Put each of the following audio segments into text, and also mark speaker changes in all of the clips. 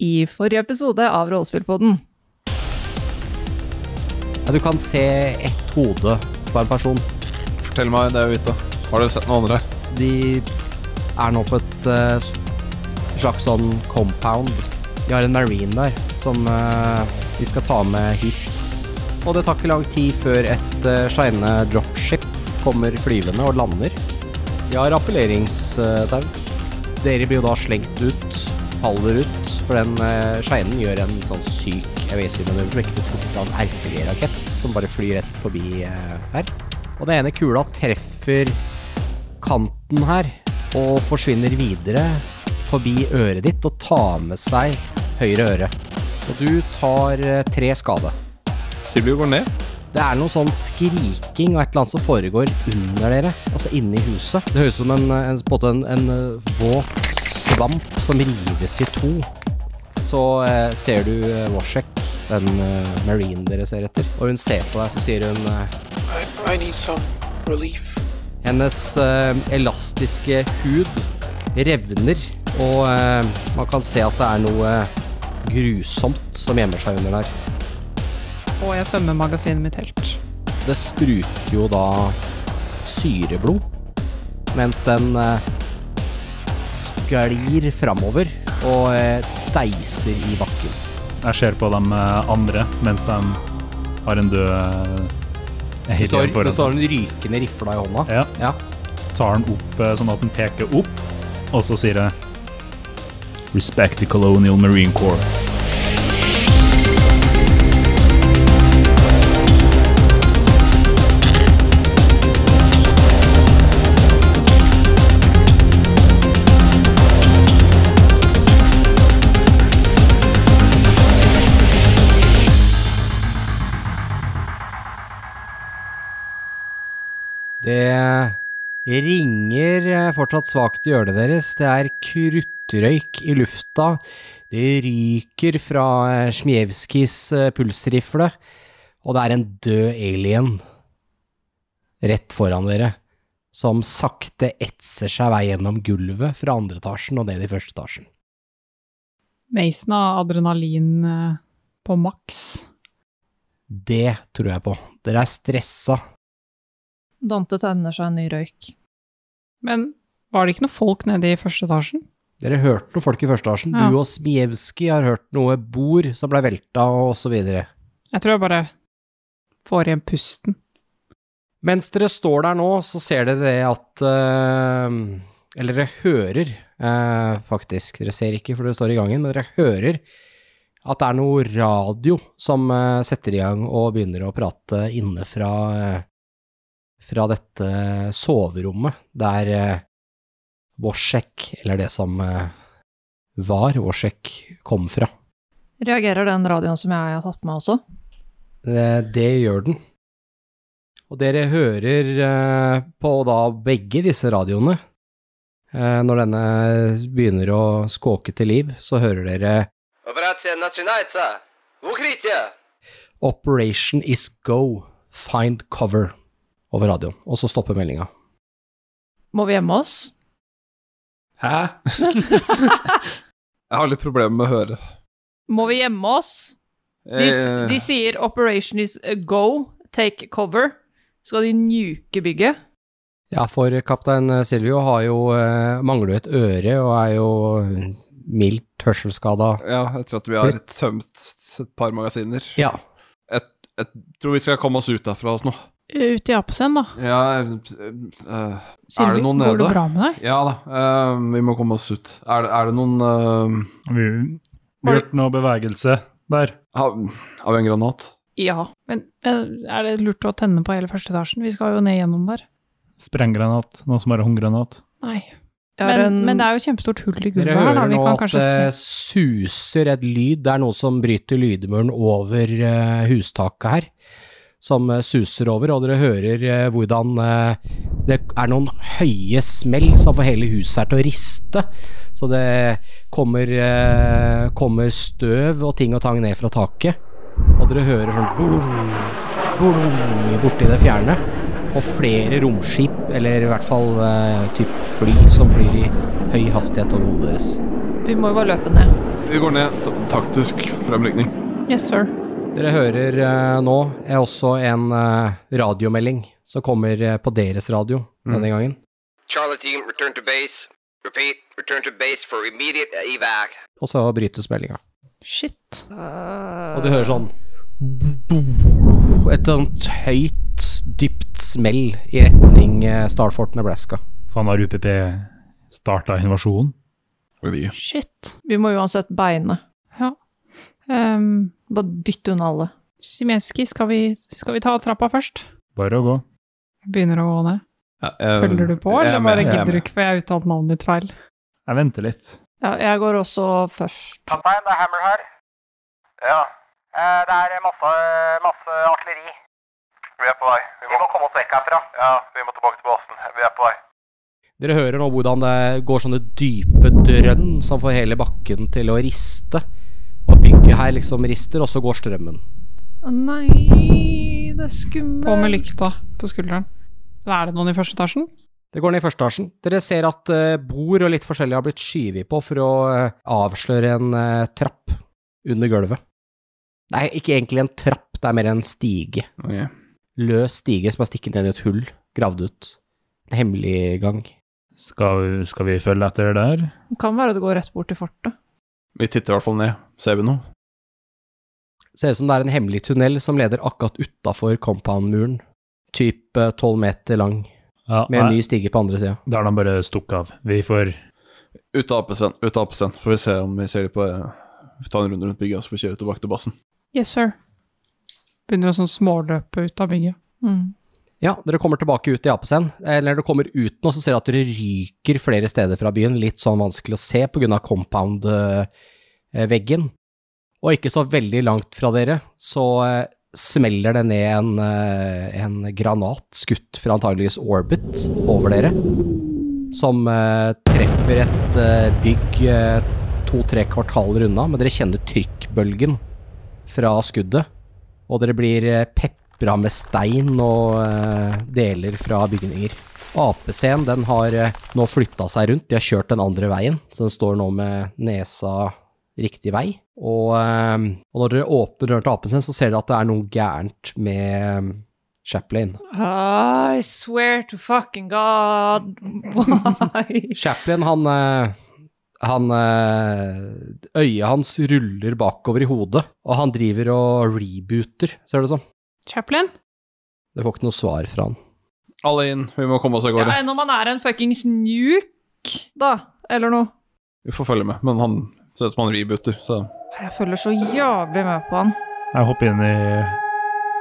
Speaker 1: i forrige episode av Rollespillpodden.
Speaker 2: Ja, du kan se ett hode på en person.
Speaker 3: Fortell meg, det er jo vita. Har dere sett noen andre her?
Speaker 2: De er nå på et eh, s- slags sånn compound. De har en marine der som eh, de skal ta med hit. Og det tar ikke lang tid før et uh, shine dropship kommer flyvende og lander. De har rappelleringstau. Dere blir jo da slengt ut, faller ut, for den uh, shinen gjør en sånn syk evasive-manøver som ikke blir truffet av en RPG-rakett som bare flyr rett forbi eh, her. Og den ene kula treffer kanten her og forsvinner videre forbi øret ditt og tar med seg høyre øre. Og du tar eh, tre skade.
Speaker 3: Silvio går ned.
Speaker 2: Det er noe sånn skriking av et eller annet som foregår under dere, altså inni huset. Det høres ut som en, eh, en, på en, måte en, en eh, våt svamp som rives i to. Så eh, ser du eh, Washek, den eh, marine dere ser etter, og hun ser på deg, så sier hun eh,
Speaker 4: I, I need some relief.
Speaker 2: Hennes eh, elastiske hud revner, og eh, man kan se at det er noe grusomt som gjemmer seg under der.
Speaker 1: Og jeg tømmer magasinet mitt helt.
Speaker 2: Det spruter jo da syreblod, mens den eh, sklir framover og eh, deiser i bakken.
Speaker 5: Jeg ser på de eh, andre mens de har en død eh,
Speaker 2: Det
Speaker 5: hit
Speaker 2: står,
Speaker 5: foran
Speaker 2: det står
Speaker 5: seg.
Speaker 2: en rykende rifle i hånda.
Speaker 5: Ja,
Speaker 2: Ja.
Speaker 5: tar den opp eh, sånn at den peker opp, og så sier jeg Respect the colonial marine corps.
Speaker 2: Det ringer eh, fortsatt svakt i ørene deres. Det er kruttrøyk i lufta. Det ryker fra eh, Smijevskijs eh, pulsrifle. Og det er en død alien rett foran dere, som sakte etser seg vei gjennom gulvet fra andre etasjen og ned i første etasjen.
Speaker 1: Mason har adrenalin eh, på maks.
Speaker 2: Det tror jeg på. Dere er stressa.
Speaker 1: Dante tenner seg en ny røyk. Men var det ikke noe folk nede i første etasjen?
Speaker 2: Dere hørte noen folk i første etasjen.
Speaker 1: Ja.
Speaker 2: Du og Smijevskij har hørt noe bord som ble velta, og så videre.
Speaker 1: Jeg tror jeg bare får igjen pusten.
Speaker 2: Mens dere står der nå, så ser dere det at eh, Eller dere hører, eh, faktisk. Dere ser ikke, for dere står i gangen, men dere hører at det er noe radio som eh, setter i gang og begynner å prate inne fra, eh, fra dette soverommet der uh, Worsek, eller det som eh, var Worsek, kom fra.
Speaker 1: Reagerer den radioen som jeg har tatt med også?
Speaker 2: Eh, Det gjør den. Og dere hører eh, på da begge disse radioene. Eh, Når denne begynner å skåke til liv, så hører dere
Speaker 6: Операция начинается! В укрытие!
Speaker 2: Operation is go, find cover over radioen. Og så stopper meldinga.
Speaker 1: Må vi gjemme oss?
Speaker 3: Hæ? jeg har litt problemer med å høre.
Speaker 1: Må vi gjemme oss? De,
Speaker 3: Eh,
Speaker 1: de sier 'operation is a go, take cover'. Skal de nuke bygget?
Speaker 2: Ja, for kaptein Silvio har jo, eh, mangler jo et øre og er jo mildt hørselskada.
Speaker 3: Ja, jeg tror at vi har tømt et par magasiner.
Speaker 2: Ja.
Speaker 3: Jeg tror vi skal komme oss ut derfra oss nå.
Speaker 1: eh, Ut i apesen, da.
Speaker 3: Ja, eh,
Speaker 1: Silvi,
Speaker 3: det noen
Speaker 1: går det
Speaker 3: nede?
Speaker 1: bra med deg?
Speaker 3: ja da, eh, vi må komme oss ut. Er, det- er det noen eh,
Speaker 5: Vi vi gjort noe bevegelse der.
Speaker 3: har, har vi en granat?
Speaker 1: Ja. Men, men er det lurt å tenne på hele første etasjen? Vi skal jo ned gjennom der.
Speaker 5: Sprenggranat, noe som er håndgranat.
Speaker 1: Nei.
Speaker 7: har
Speaker 1: Men,
Speaker 7: en-
Speaker 1: men det er jo kjempestort hull i
Speaker 2: Dere
Speaker 1: gulvet her, da.
Speaker 2: hører
Speaker 1: Vi
Speaker 2: nå
Speaker 1: kan
Speaker 2: at
Speaker 1: kanskje
Speaker 2: det
Speaker 1: se.
Speaker 2: suser et lyd. Det er noe som bryter lydmuren over eh, hustaket her, som eh, suser over, og dere hører eh, hvordan eh, det er noen høye smell som får hele huset her til å riste. Så det kommer, eh, kommer støv og ting og tang ned fra taket, og dere hører sånn blum, blum borti det fjerne. Og flere romskip, eller i hvert fall eh, typ fly, som flyr i høy hastighet over hodet deres.
Speaker 1: Vi må jo bare løpe ned.
Speaker 3: Vi går ned. Ta- Taktisk fremrykning.
Speaker 1: Yes, sir.
Speaker 2: Dere hører eh, nå er også en eh, radiomelding som kommer eh, på deres radio denne gangen.
Speaker 6: Charlie team, return to base. Repeat, return to base for immediate evac.
Speaker 2: Og så brytes meldinga.
Speaker 1: Shit.
Speaker 2: Og du hører sånn Et sånt høyt, dypt smell i retning eh, Starfort, Nebraska.
Speaker 5: Faen, har UPP starta invasjonen?
Speaker 3: Oi, de.
Speaker 1: Shit. Vi må uansett beine. Ja.
Speaker 3: eh,
Speaker 1: Ehm, bare dytte unna alle. Simenski, skal vi, skal vi ta trappa først?
Speaker 5: Bare å gå.
Speaker 1: Begynner å gå ned.
Speaker 3: Ja, jeg-
Speaker 1: Følger du på,
Speaker 3: jeg er
Speaker 1: eller
Speaker 3: med,
Speaker 1: bare
Speaker 3: jeg er
Speaker 1: gidder du
Speaker 3: med.
Speaker 1: ikke, for jeg har uttalt navnet ditt feil?
Speaker 5: Jeg venter litt.
Speaker 1: Ja, jeg går også først.
Speaker 7: Kaptein, det er Hammer her. Ja. Eh, det er masse, masse artilleri. Vi er på vei. Vi må, komme oss vekk herfra. Ja, vi må tilbake til basen. Vi er på vei.
Speaker 2: Dere hører nå hvordan det går sånne dype drønn som får hele bakken til å riste. Og bygget her liksom rister, og så går strømmen.
Speaker 1: Å nei, det er skummelt.
Speaker 8: På med lykta på skulderen. Er det noen i første etasjen?
Speaker 2: Det går ned i første etasjen. Dere ser at eh, bord og litt forskjellig har blitt skyvet på for å eh, avsløre en eh, trapp under gulvet. Nei, ikke egentlig en trapp, det er mer en stige.
Speaker 3: Ok.
Speaker 2: Løs stige som er stikket ned i et hull, gravd ut. En hemmelig gang.
Speaker 5: Skal, skal vi følge etter der?
Speaker 1: Det kan være det går rett bort til fortet.
Speaker 3: Vi titter i hvert fall ned. Ser vi noe?
Speaker 2: Ser ut som det er en hemmelig tunnel som leder akkurat utafor compound-muren. Typ eh, tolv meter lang,
Speaker 5: Ja,
Speaker 2: med en
Speaker 5: nei,
Speaker 2: ny stige på andre sida.
Speaker 5: Da er de bare stukket av. Vi får
Speaker 3: Ut av APC-en. Ut av APC-en. Får vi se om vi ser de på eh, Vi tar en runde rundt bygget, og så får vi kjøre tilbake til basen.
Speaker 1: Yes, sir.
Speaker 8: Begynner å sånn småløpe ut av bygget.
Speaker 1: Mm.
Speaker 2: Ja, dere kommer tilbake ut i Apesen, eller dere kommer ut nå, så ser dere at dere ryker flere steder fra byen, litt sånn vanskelig å se på grunn av compound-veggen. Og ikke så veldig langt fra dere, så eh, smeller det ned en, eh, en granat skutt fra antageligvis Orbit over dere, som eh, treffer et eh, bygg eh, to-tre kvartaler unna, men dere kjenner trykkbølgen fra skuddet, og dere blir eh, pepra med stein og eh, deler fra bygninger. APC-en den har eh, nå flytta seg rundt, de har kjørt den andre veien, så den står nå med nesa riktig vei. Og, eh, og når dere åpner døren til APC-en, så ser dere at det er noe gærent med eh, Chaplin.
Speaker 1: I swear to fucking god, why?
Speaker 2: Chaplin, han, eh, han eh, Øyet hans ruller bakover i hodet, og han driver og rebooter, ser det ut som.
Speaker 1: Chaplin?
Speaker 2: Det får ikke noe svar fra han.
Speaker 3: Alle inn. Vi må komme oss av gårde.
Speaker 1: Ja, når man er en fuckings nuke, da, eller noe.
Speaker 3: Vi får følge med. Men han ser ut som han rebooter, så
Speaker 1: Jeg følger så jævlig med på han.
Speaker 5: Jeg hopper inn i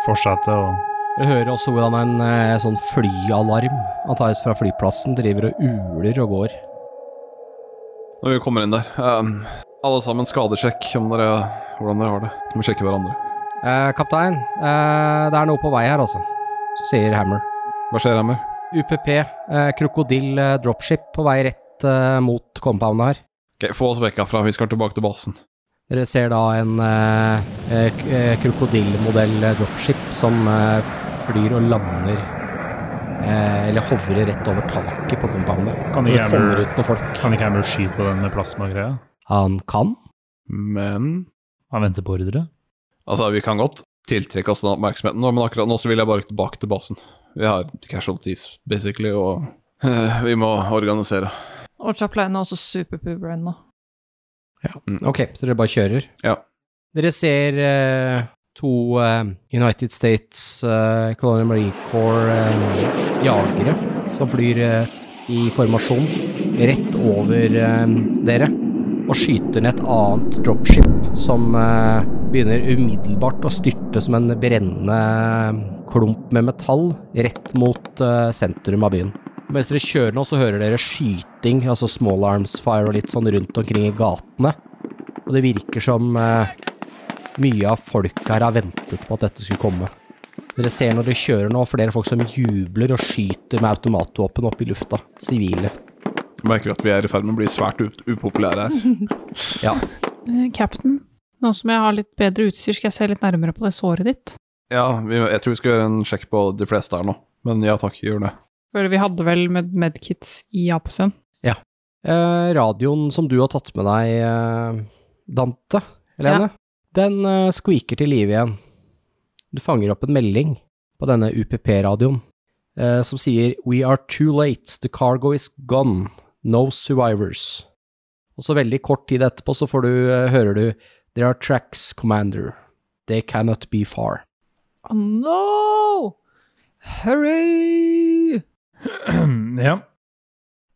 Speaker 5: forsetet og
Speaker 2: Vi hører også hvordan en eh, sånn flyalarm antageligvis fra flyplassen driver og uler og går.
Speaker 3: Når vi kommer inn der ehm, Alle sammen skadesjekk om dere, hvordan dere har det. Vi må sjekke hverandre.
Speaker 2: Eh, kaptein, eh, det er noe på vei her, altså. Så sier Hammer.
Speaker 3: Hva skjer, Hammer?
Speaker 2: UPP, eh, krokodill eh, dropship på vei rett eh, mot compoundet her.
Speaker 3: Ok, Få oss vekk herfra. Vi skal tilbake til basen.
Speaker 2: Dere ser da en eh, eh, k- eh, krokodillmodell eh, dropship som eh, flyr og lander eh, Eller hovrer rett over taket på compoundet.
Speaker 5: Kan
Speaker 2: Og
Speaker 5: ikke
Speaker 2: det kommer
Speaker 5: Hammer,
Speaker 2: ut noen folk.
Speaker 5: kan ikke Hammer skyte på den med plasmagreia?
Speaker 2: Han kan.
Speaker 3: Men
Speaker 5: Han venter på ordre.
Speaker 3: Altså, vi kan godt tiltrekke oss den oppmerksomheten nå, men akkurat nå så vil jeg bare tilbake til basen. Vi har casualties, basically, og eh, vi må organisere.
Speaker 1: Og Chaplin er også superpooper ennå.
Speaker 2: Ok, så dere bare kjører?
Speaker 3: Ja.
Speaker 2: Dere ser eh, to eh, United States eh, Colonial Marine Corps eh, jagere som flyr eh, i formasjon rett over eh, dere og skyter ned et annet dropship som eh, begynner umiddelbart å styrte som en brennende klump med metall rett mot eh, sentrum av byen. Mens dere kjører nå, så hører dere skyting, altså small arms fire og litt sånn rundt omkring i gatene. Og det virker som eh, mye av folk her har ventet på at dette skulle komme. Dere ser når dere kjører nå, flere folk som jubler og skyter med automatvåpen opp i lufta. Sivile.
Speaker 3: Jeg merker at vi er i ferd med å bli svært u- upopulære her.
Speaker 2: Ja.
Speaker 8: Eh, Captain, nå som jeg har litt bedre utstyr, skal jeg se litt nærmere på det såret ditt.
Speaker 3: Ja, vi, jeg tror vi skal gjøre en sjekk på de fleste her nå, men ja takk, gjør det.
Speaker 8: For vi hadde vel med medkits i apesen.
Speaker 2: Eh, radioen som du har tatt med deg, eh, Dante, Helene, den eh, squeaker til live igjen. Du fanger opp en melding på denne UPP-radioen eh, som sier We are too late, the cargo is gone, no survivors. Og så veldig kort tid etterpå så får du, eh, hører du There are tracks, commander. They cannot be far.
Speaker 8: Oh no! Hurry!
Speaker 5: ja.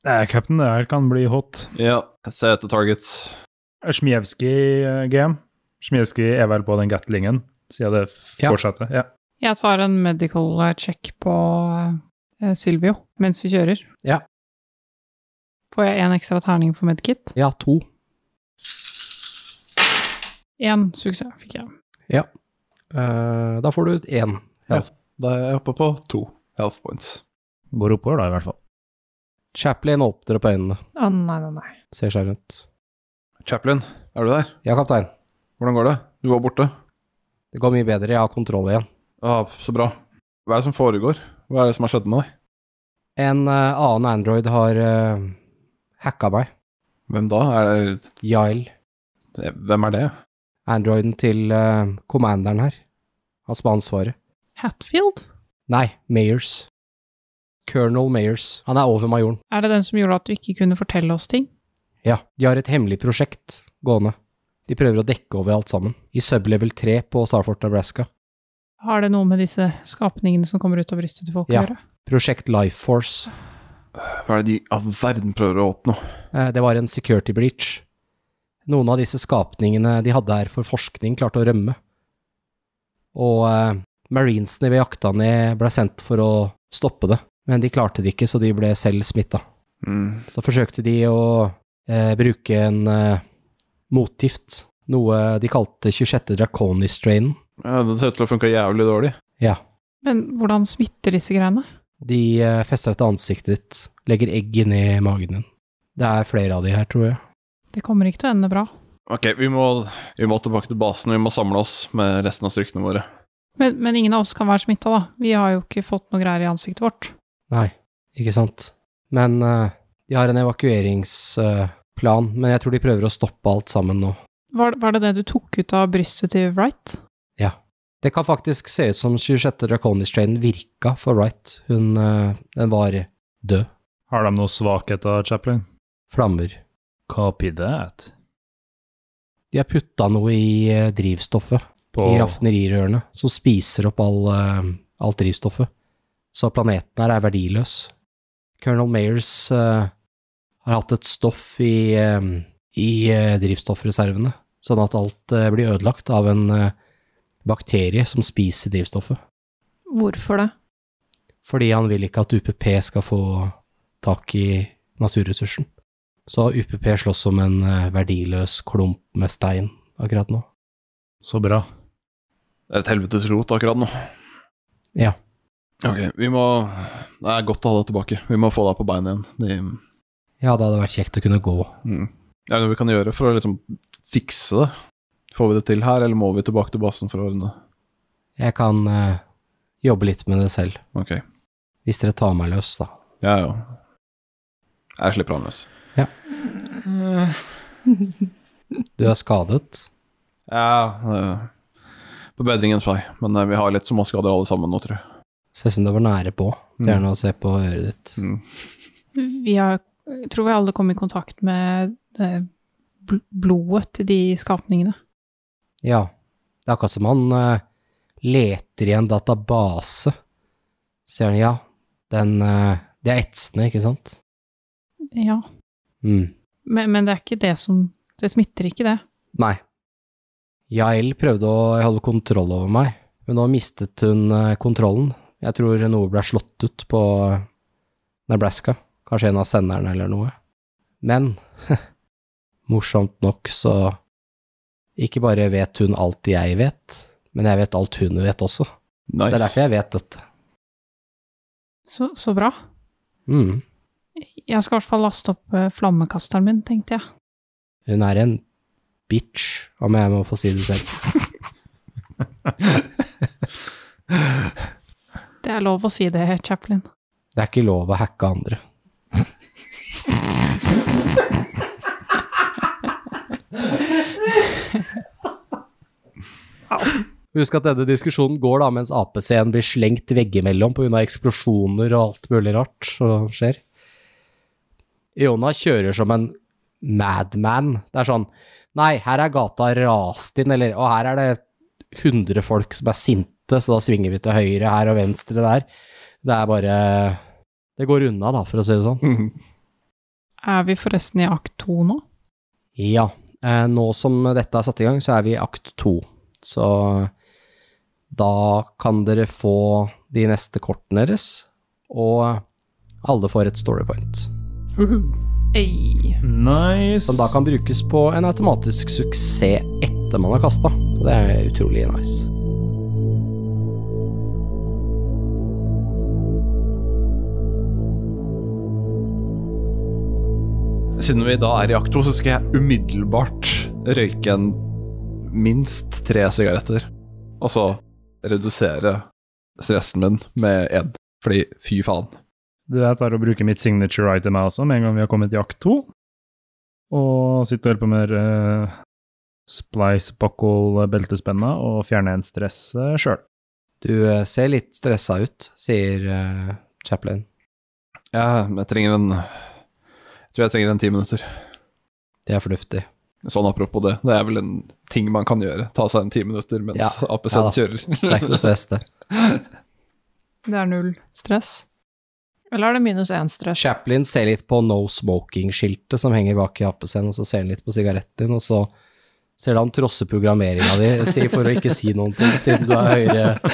Speaker 5: Eh, Captain, det her kan bli hot.
Speaker 3: Ja, se etter targets.
Speaker 5: Smijevskij eh, GM. Smijevskij er vel på den gatlingen, siden det f-
Speaker 2: Ja.
Speaker 5: fortsetter. Ja.
Speaker 1: Jeg tar en medical eh, check på eh, Silvio mens vi kjører.
Speaker 2: Ja.
Speaker 1: Får jeg én ekstra terning for medkit?
Speaker 2: Ja, to.
Speaker 1: Én suksess fikk jeg.
Speaker 2: Eh, da får du én.
Speaker 3: Da er jeg oppe på to health points.
Speaker 5: Går oppover, da, i hvert fall.
Speaker 2: Chaplin åpner opp øynene,
Speaker 8: Å nei, nei, nei.
Speaker 2: ser seg rundt.
Speaker 3: Chaplin, er du der?
Speaker 2: Ja, kaptein.
Speaker 3: Hvordan går det? Du var borte.
Speaker 2: Det går mye bedre, jeg har kontroll igjen.
Speaker 3: Ah, så bra. Hva er det som foregår? Hva er det som har skjedd med deg?
Speaker 2: En eh, annen Android har eh, hacka meg.
Speaker 3: Hvem da? Er det, eh,
Speaker 2: Yael,
Speaker 3: hvem er det?
Speaker 2: Androiden til eh, commanderen her. Han som har ansvaret.
Speaker 1: Hatfield?
Speaker 2: Nei, Mayers. Colonel Mayers. Han er over majoren.
Speaker 1: Er det den som gjorde at du ikke kunne fortelle oss ting?
Speaker 2: Ja, de har et hemmelig prosjekt gående. De prøver å dekke over alt sammen. I sublevel 3 på Starfort Nebraska.
Speaker 1: Har det noe med disse skapningene som kommer ut av brystet til folk
Speaker 2: Ja.
Speaker 1: å gjøre?
Speaker 2: Prosjekt Life Force.
Speaker 3: Hva er det de av verden prøver å oppnå?
Speaker 2: Eh, Det var en security breach. Noen av disse skapningene de hadde her for forskning, klarte å rømme. Og eh, marinesene vi jakta ned, ble sendt for å stoppe det. Men de klarte det ikke, så de ble selv smitta.
Speaker 3: Mm.
Speaker 2: Så forsøkte de å eh, bruke en eh, motgift, noe de kalte 26. draconis-trainen.
Speaker 3: Ja, det ser ut til å funke jævlig dårlig.
Speaker 2: Ja.
Speaker 1: Men hvordan smitter disse greiene?
Speaker 2: De eh, fester etter ansiktet ditt, legger egg inni magen din. Det er flere av de her, tror jeg.
Speaker 1: Det kommer ikke til å ende bra.
Speaker 3: Ok, vi må, vi må tilbake til basen. Vi må samle oss med resten av styrkene våre.
Speaker 1: Men, men ingen av oss kan være smitta, da. Vi har jo ikke fått noe greier i ansiktet vårt.
Speaker 2: Nei, ikke sant. Men eh, de har en evakueringsplan, men jeg tror de prøver å stoppe alt sammen nå.
Speaker 1: Var, var det det du tok ut av brystet til Wright?
Speaker 2: Det kan faktisk se ut som 26. Draconis-trainen virka for Wright. Hun eh, den var død.
Speaker 5: Har de noen svakheter, Chaplin?
Speaker 2: Flammer.
Speaker 5: Copy that.
Speaker 2: De har putta noe i eh, drivstoffet
Speaker 5: På
Speaker 2: i raffinerirørene, som spiser opp all, eh, alt drivstoffet. Så planeten her er verdiløs. Colonel Mayers eh, har hatt et stoff i, eh, i eh, drivstoffreservene, sånn at alt eh, blir ødelagt av en eh, bakterie som spiser drivstoffet.
Speaker 8: Hvorfor det?
Speaker 2: Fordi han vil ikke at UPP skal få tak i naturressursen. Så UPP slåss som en eh, verdiløs klump med stein akkurat nå.
Speaker 5: Så bra.
Speaker 3: Det er et helvetes rot akkurat nå.
Speaker 2: Ja.
Speaker 3: Ok, vi må Det er godt å ha deg tilbake. Vi må få deg på beina igjen. De,
Speaker 2: Ja, det hadde vært kjekt å kunne gå.
Speaker 3: mm. Er det noe vi kan gjøre for å liksom fikse det? Får vi det til her, eller må vi tilbake til basen for å ordne det?
Speaker 2: Jeg kan eh, jobbe litt med det selv,
Speaker 3: Ok.
Speaker 2: hvis dere tar meg løs, da.
Speaker 3: Ja, ja. Jeg slipper han løs.
Speaker 2: Du er skadet.
Speaker 3: Ja, eh, på bedringens vei. Men eh, vi har litt småskader alle sammen nå, tror jeg.
Speaker 2: Ser ut som det var nære på.
Speaker 3: Mm.
Speaker 2: Gjerne å se på øret ditt.
Speaker 3: Mm.
Speaker 1: Vi har, jeg tror vi alle kom i kontakt med eh, bl- blodet til de skapningene.
Speaker 2: Ja, det er akkurat som han eh, leter i en database. Ser han, ja, den eh, Det er etsende, ikke sant?
Speaker 1: Ja,
Speaker 2: Mm.
Speaker 1: men, men det er ikke det som Det smitter ikke, det.
Speaker 2: Nei. Yael prøvde å holde kontroll over meg, men nå mistet hun eh, kontrollen. Jeg tror noe ble slått ut på eh, Nebraska, kanskje en av senderne eller noe. Men morsomt nok så ikke bare vet hun alt jeg vet, men jeg vet alt hun vet også.
Speaker 3: Nice.
Speaker 2: Det er derfor jeg vet dette.
Speaker 1: Så, så bra.
Speaker 2: Mm.
Speaker 1: Jeg skal i hvert fall laste opp eh, flammekasteren min, tenkte jeg.
Speaker 2: Hun er en bitch, om jeg må få si det selv.
Speaker 1: Det er lov å si det, Chaplin.
Speaker 2: Det er ikke lov å hacke andre. Husk at denne diskusjonen går da mens APC-en blir slengt veggimellom pga. eksplosjoner og alt mulig rart som skjer. Iona kjører som en madman. Det er sånn Nei, her er gata rast inn, eller Og her er det 100 folk som er sinte, så da svinger vi til høyre her og venstre der. Det er bare Det går unna, da, for å si det sånn.
Speaker 8: Er vi forresten i akt to nå?
Speaker 2: Ja. Eh, nå som dette er satt i gang, så er vi i akt to. Så da kan dere få de neste kortene deres, og alle får et storypoint.
Speaker 8: Ei.
Speaker 5: Nice.
Speaker 2: Som Uhuh. da kan brukes på en automatisk suksess etter man har kasta. Så det er utrolig nice.
Speaker 3: Siden vi da er i akt to, så skal jeg umiddelbart røyke en minst tre sigaretter. Og så redusere stressen min med én. Fordi fy faen.
Speaker 5: Du vet, jeg tar og bruker mitt signature item jeg også, med en gang vi har kommet i akt 2. Og sitter og holder på med uh, splice buckle-beltespenna og fjerner en stress uh, sjøl.
Speaker 2: Du eh, ser litt stressa ut, sier eh, Chaplin.
Speaker 3: Jeg, jeg trenger en Jeg tror jeg trenger en ti minutter.
Speaker 2: Det er fornuftig.
Speaker 3: Sånn apropos det. Det er vel en ting man kan gjøre. Ta seg en ti minutter mens
Speaker 2: Ja,
Speaker 3: APC
Speaker 2: ja da. Det er
Speaker 3: kjører.
Speaker 2: ikke noe stress, det.
Speaker 8: Det er null stress. Eller er det minus én stress?
Speaker 2: Chaplin ser litt på no smoking-skiltet som henger bak i appesen, og så ser han litt på sigaretten din, og så ser du han trosser programmeringa di si- for å ikke si noen ting, siden du er høyere.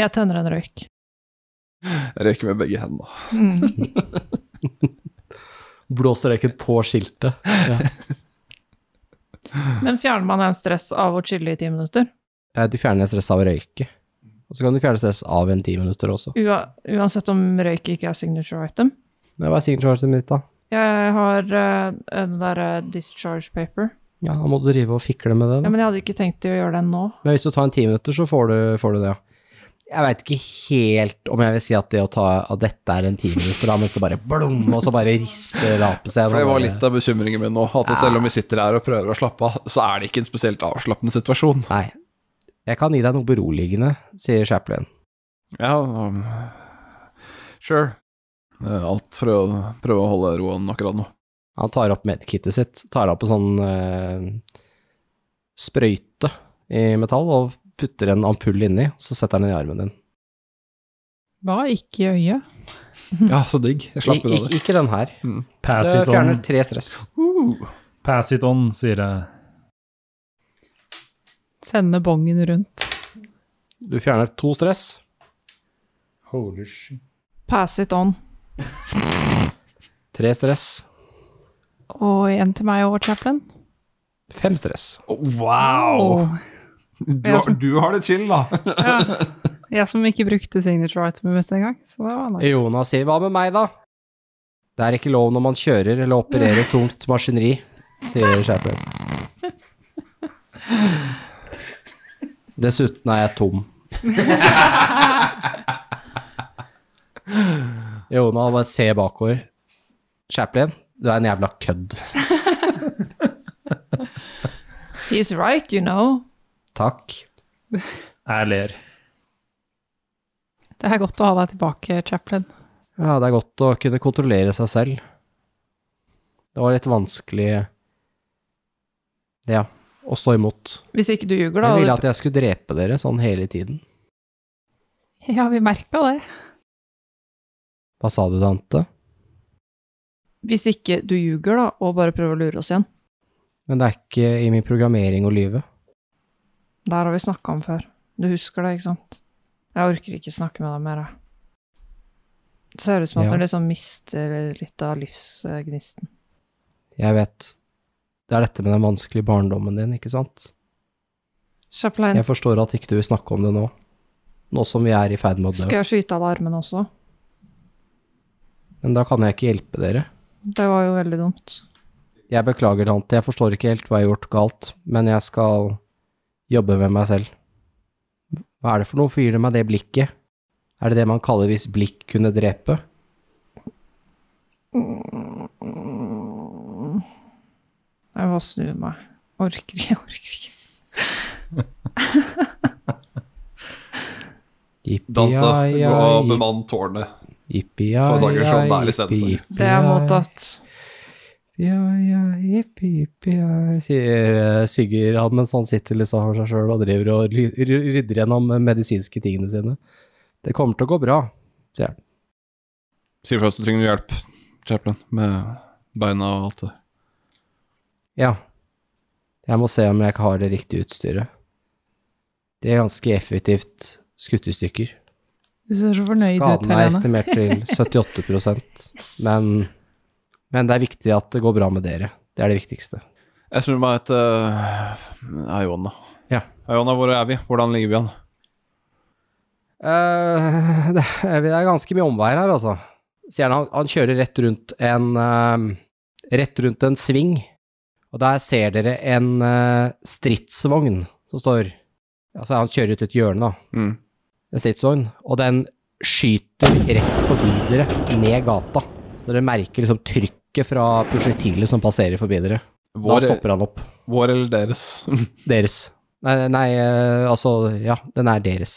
Speaker 8: Jeg tenner en røyk.
Speaker 3: Jeg røyker med begge hendene.
Speaker 8: Mm.
Speaker 2: Blåser røyken på skiltet.
Speaker 8: Men fjerner man en stress av å chille i ti minutter?
Speaker 2: Eh, Du fjerner stress av å røyke, og så kan du fjerne stress av en ti minutter også.
Speaker 8: Ua uansett om røyk ikke er signature item?
Speaker 2: Det var signature mitt, da.
Speaker 8: Jeg har eh, den derre discharge paper.
Speaker 2: Ja, da må du drive og fikle med det.
Speaker 8: Ja,
Speaker 2: Da.
Speaker 8: men jeg hadde ikke tenkt i å gjøre den nå.
Speaker 2: Men hvis du tar en ti minutter, så får du, får du det, ja. Jeg veit ikke helt om jeg vil si at det å ta at dette er en ti minutter, da, mens det bare blom, og så bare rister lapet seg.
Speaker 3: For det
Speaker 2: og
Speaker 3: var
Speaker 2: bare-
Speaker 3: litt av bekymringen min nå. At selv om vi sitter her og prøver å slappe av, så er det ikke en spesielt avslappende situasjon.
Speaker 2: Nei. Jeg kan gi deg noe beroligende, sier Chaplin.
Speaker 3: Ja, um, sure. Det er Alt for å prøve å holde roen akkurat nå.
Speaker 2: Han tar opp medkittet sitt, tar opp en sånn eh, sprøyte i metall og putter en ampull inni, så setter han den i armen din.
Speaker 8: Hva? Ikke i øyet?
Speaker 3: Ja, så digg. Jeg
Speaker 2: Ik
Speaker 3: slapper av
Speaker 2: ik
Speaker 3: det.
Speaker 2: ikke den her.
Speaker 5: Pass
Speaker 2: Det
Speaker 5: it
Speaker 2: fjerner
Speaker 5: on,
Speaker 2: tre stress.
Speaker 5: pass it on, sier jeg.
Speaker 8: Sende bongen rundt.
Speaker 2: Du fjerner to stress.
Speaker 5: Holy shit.
Speaker 8: Pass it on.
Speaker 2: Tre stress.
Speaker 8: Og en til meg og Chaplin.
Speaker 2: Fem stress.
Speaker 3: Wow!
Speaker 8: Og
Speaker 3: Du,
Speaker 8: har-
Speaker 3: har det chill, da.
Speaker 8: jeg som ikke brukte signature itemet mitt engang. Så det var nice.
Speaker 2: Jonas sier 'hva med meg', da? Det er ikke lov når man kjører eller opererer tungt maskineri, sier Chaplin. Dessuten er jeg tom. Jonas bare ser bakover. Chaplin, du er en jævla kødd.
Speaker 8: He's right, you know.
Speaker 2: Takk.
Speaker 5: Jeg ler.
Speaker 8: Det er godt å ha deg tilbake, Chaplin.
Speaker 2: Ja, det er godt å kunne kontrollere seg selv. Det var litt vanskelig Ja, å stå imot.
Speaker 8: Hvis ikke du ljuger, da.
Speaker 2: Jeg ville
Speaker 8: og-
Speaker 2: at jeg skulle drepe dere sånn hele tiden.
Speaker 8: Ja, vi merka det.
Speaker 2: Hva sa du, Dante?
Speaker 8: Hvis ikke du ljuger, da, og bare prøver å lure oss igjen.
Speaker 2: Men det er ikke i min programmering å lyve.
Speaker 8: Der har vi snakka om før. Du husker det, ikke sant? Jeg orker ikke snakke med deg mer, jeg. Det ser ut som at
Speaker 2: Ja.
Speaker 8: hun liksom mister litt av livsgnisten.
Speaker 2: Jeg vet. Det er dette med den vanskelige barndommen din, ikke sant?
Speaker 8: Chaplin,
Speaker 2: Jeg forstår at ikke du vil snakke om det nå. Nå som vi er i ferd med å
Speaker 8: skal
Speaker 2: dø.
Speaker 8: jeg skyte av deg armene også?
Speaker 2: Men da kan jeg ikke hjelpe dere.
Speaker 8: Det var jo veldig dumt.
Speaker 2: Jeg beklager, Dante. Jeg forstår ikke helt hva jeg har gjort galt, men jeg skal jobbe med meg selv. Hva er det for noe? Hvorfor gir du meg det blikket? Er det det man kaller hvis blikk kunne drepe?
Speaker 8: Jeg må bare snu meg. Orker ikke, orker ikke.
Speaker 3: Dante,
Speaker 2: Ja, ja,
Speaker 3: gå og
Speaker 2: ja.
Speaker 3: bemann tårnet.
Speaker 2: Jippi, ja,
Speaker 3: Få dager
Speaker 2: ja,
Speaker 3: sånn der i
Speaker 2: jippi,
Speaker 3: stedet for.
Speaker 2: jippi,
Speaker 8: Det er
Speaker 2: ja,
Speaker 8: mottatt.
Speaker 2: Ja, ja, jippi, jippi, ja, sier eh, Sigurd han mens han sitter liksom for seg sjøl og driver og ly- ry- rydder gjennom eh, medisinske tingene sine. Det kommer til å gå bra, sier han.
Speaker 3: Sier fra hvis du trenger hjelp, Chaplin, med beina og alt det.
Speaker 2: Ja. Jeg må se om jeg har det riktige utstyret. Det er ganske effektivt skutt i stykker.
Speaker 1: Du ser så fornøyd ut,
Speaker 2: Skaden er
Speaker 1: Helene.
Speaker 2: estimert til 78 men, men det er viktig at det går bra med dere. Det er det viktigste.
Speaker 3: Jeg snur meg etter uh, Iona.
Speaker 2: Ja.
Speaker 3: Iona, hvor er vi? Hvordan ligger vi an?
Speaker 2: Eh, det, er- det er ganske mye omveier her, altså. Sier han, han- han kjører rett rundt en eh, Rett rundt en sving, og der ser dere en eh, stridsvogn som står Altså, han kjører ut et hjørne, da.
Speaker 3: Mm.
Speaker 2: En stridsvogn. Og den skyter rett forbi dere, ned gata. Så dere merker liksom trykket fra prosjektilet som passerer forbi dere. Da
Speaker 3: Vår,
Speaker 2: stopper han opp.
Speaker 3: vår eller deres?
Speaker 2: Deres. Nei, nei, eh, altså Ja, den er deres.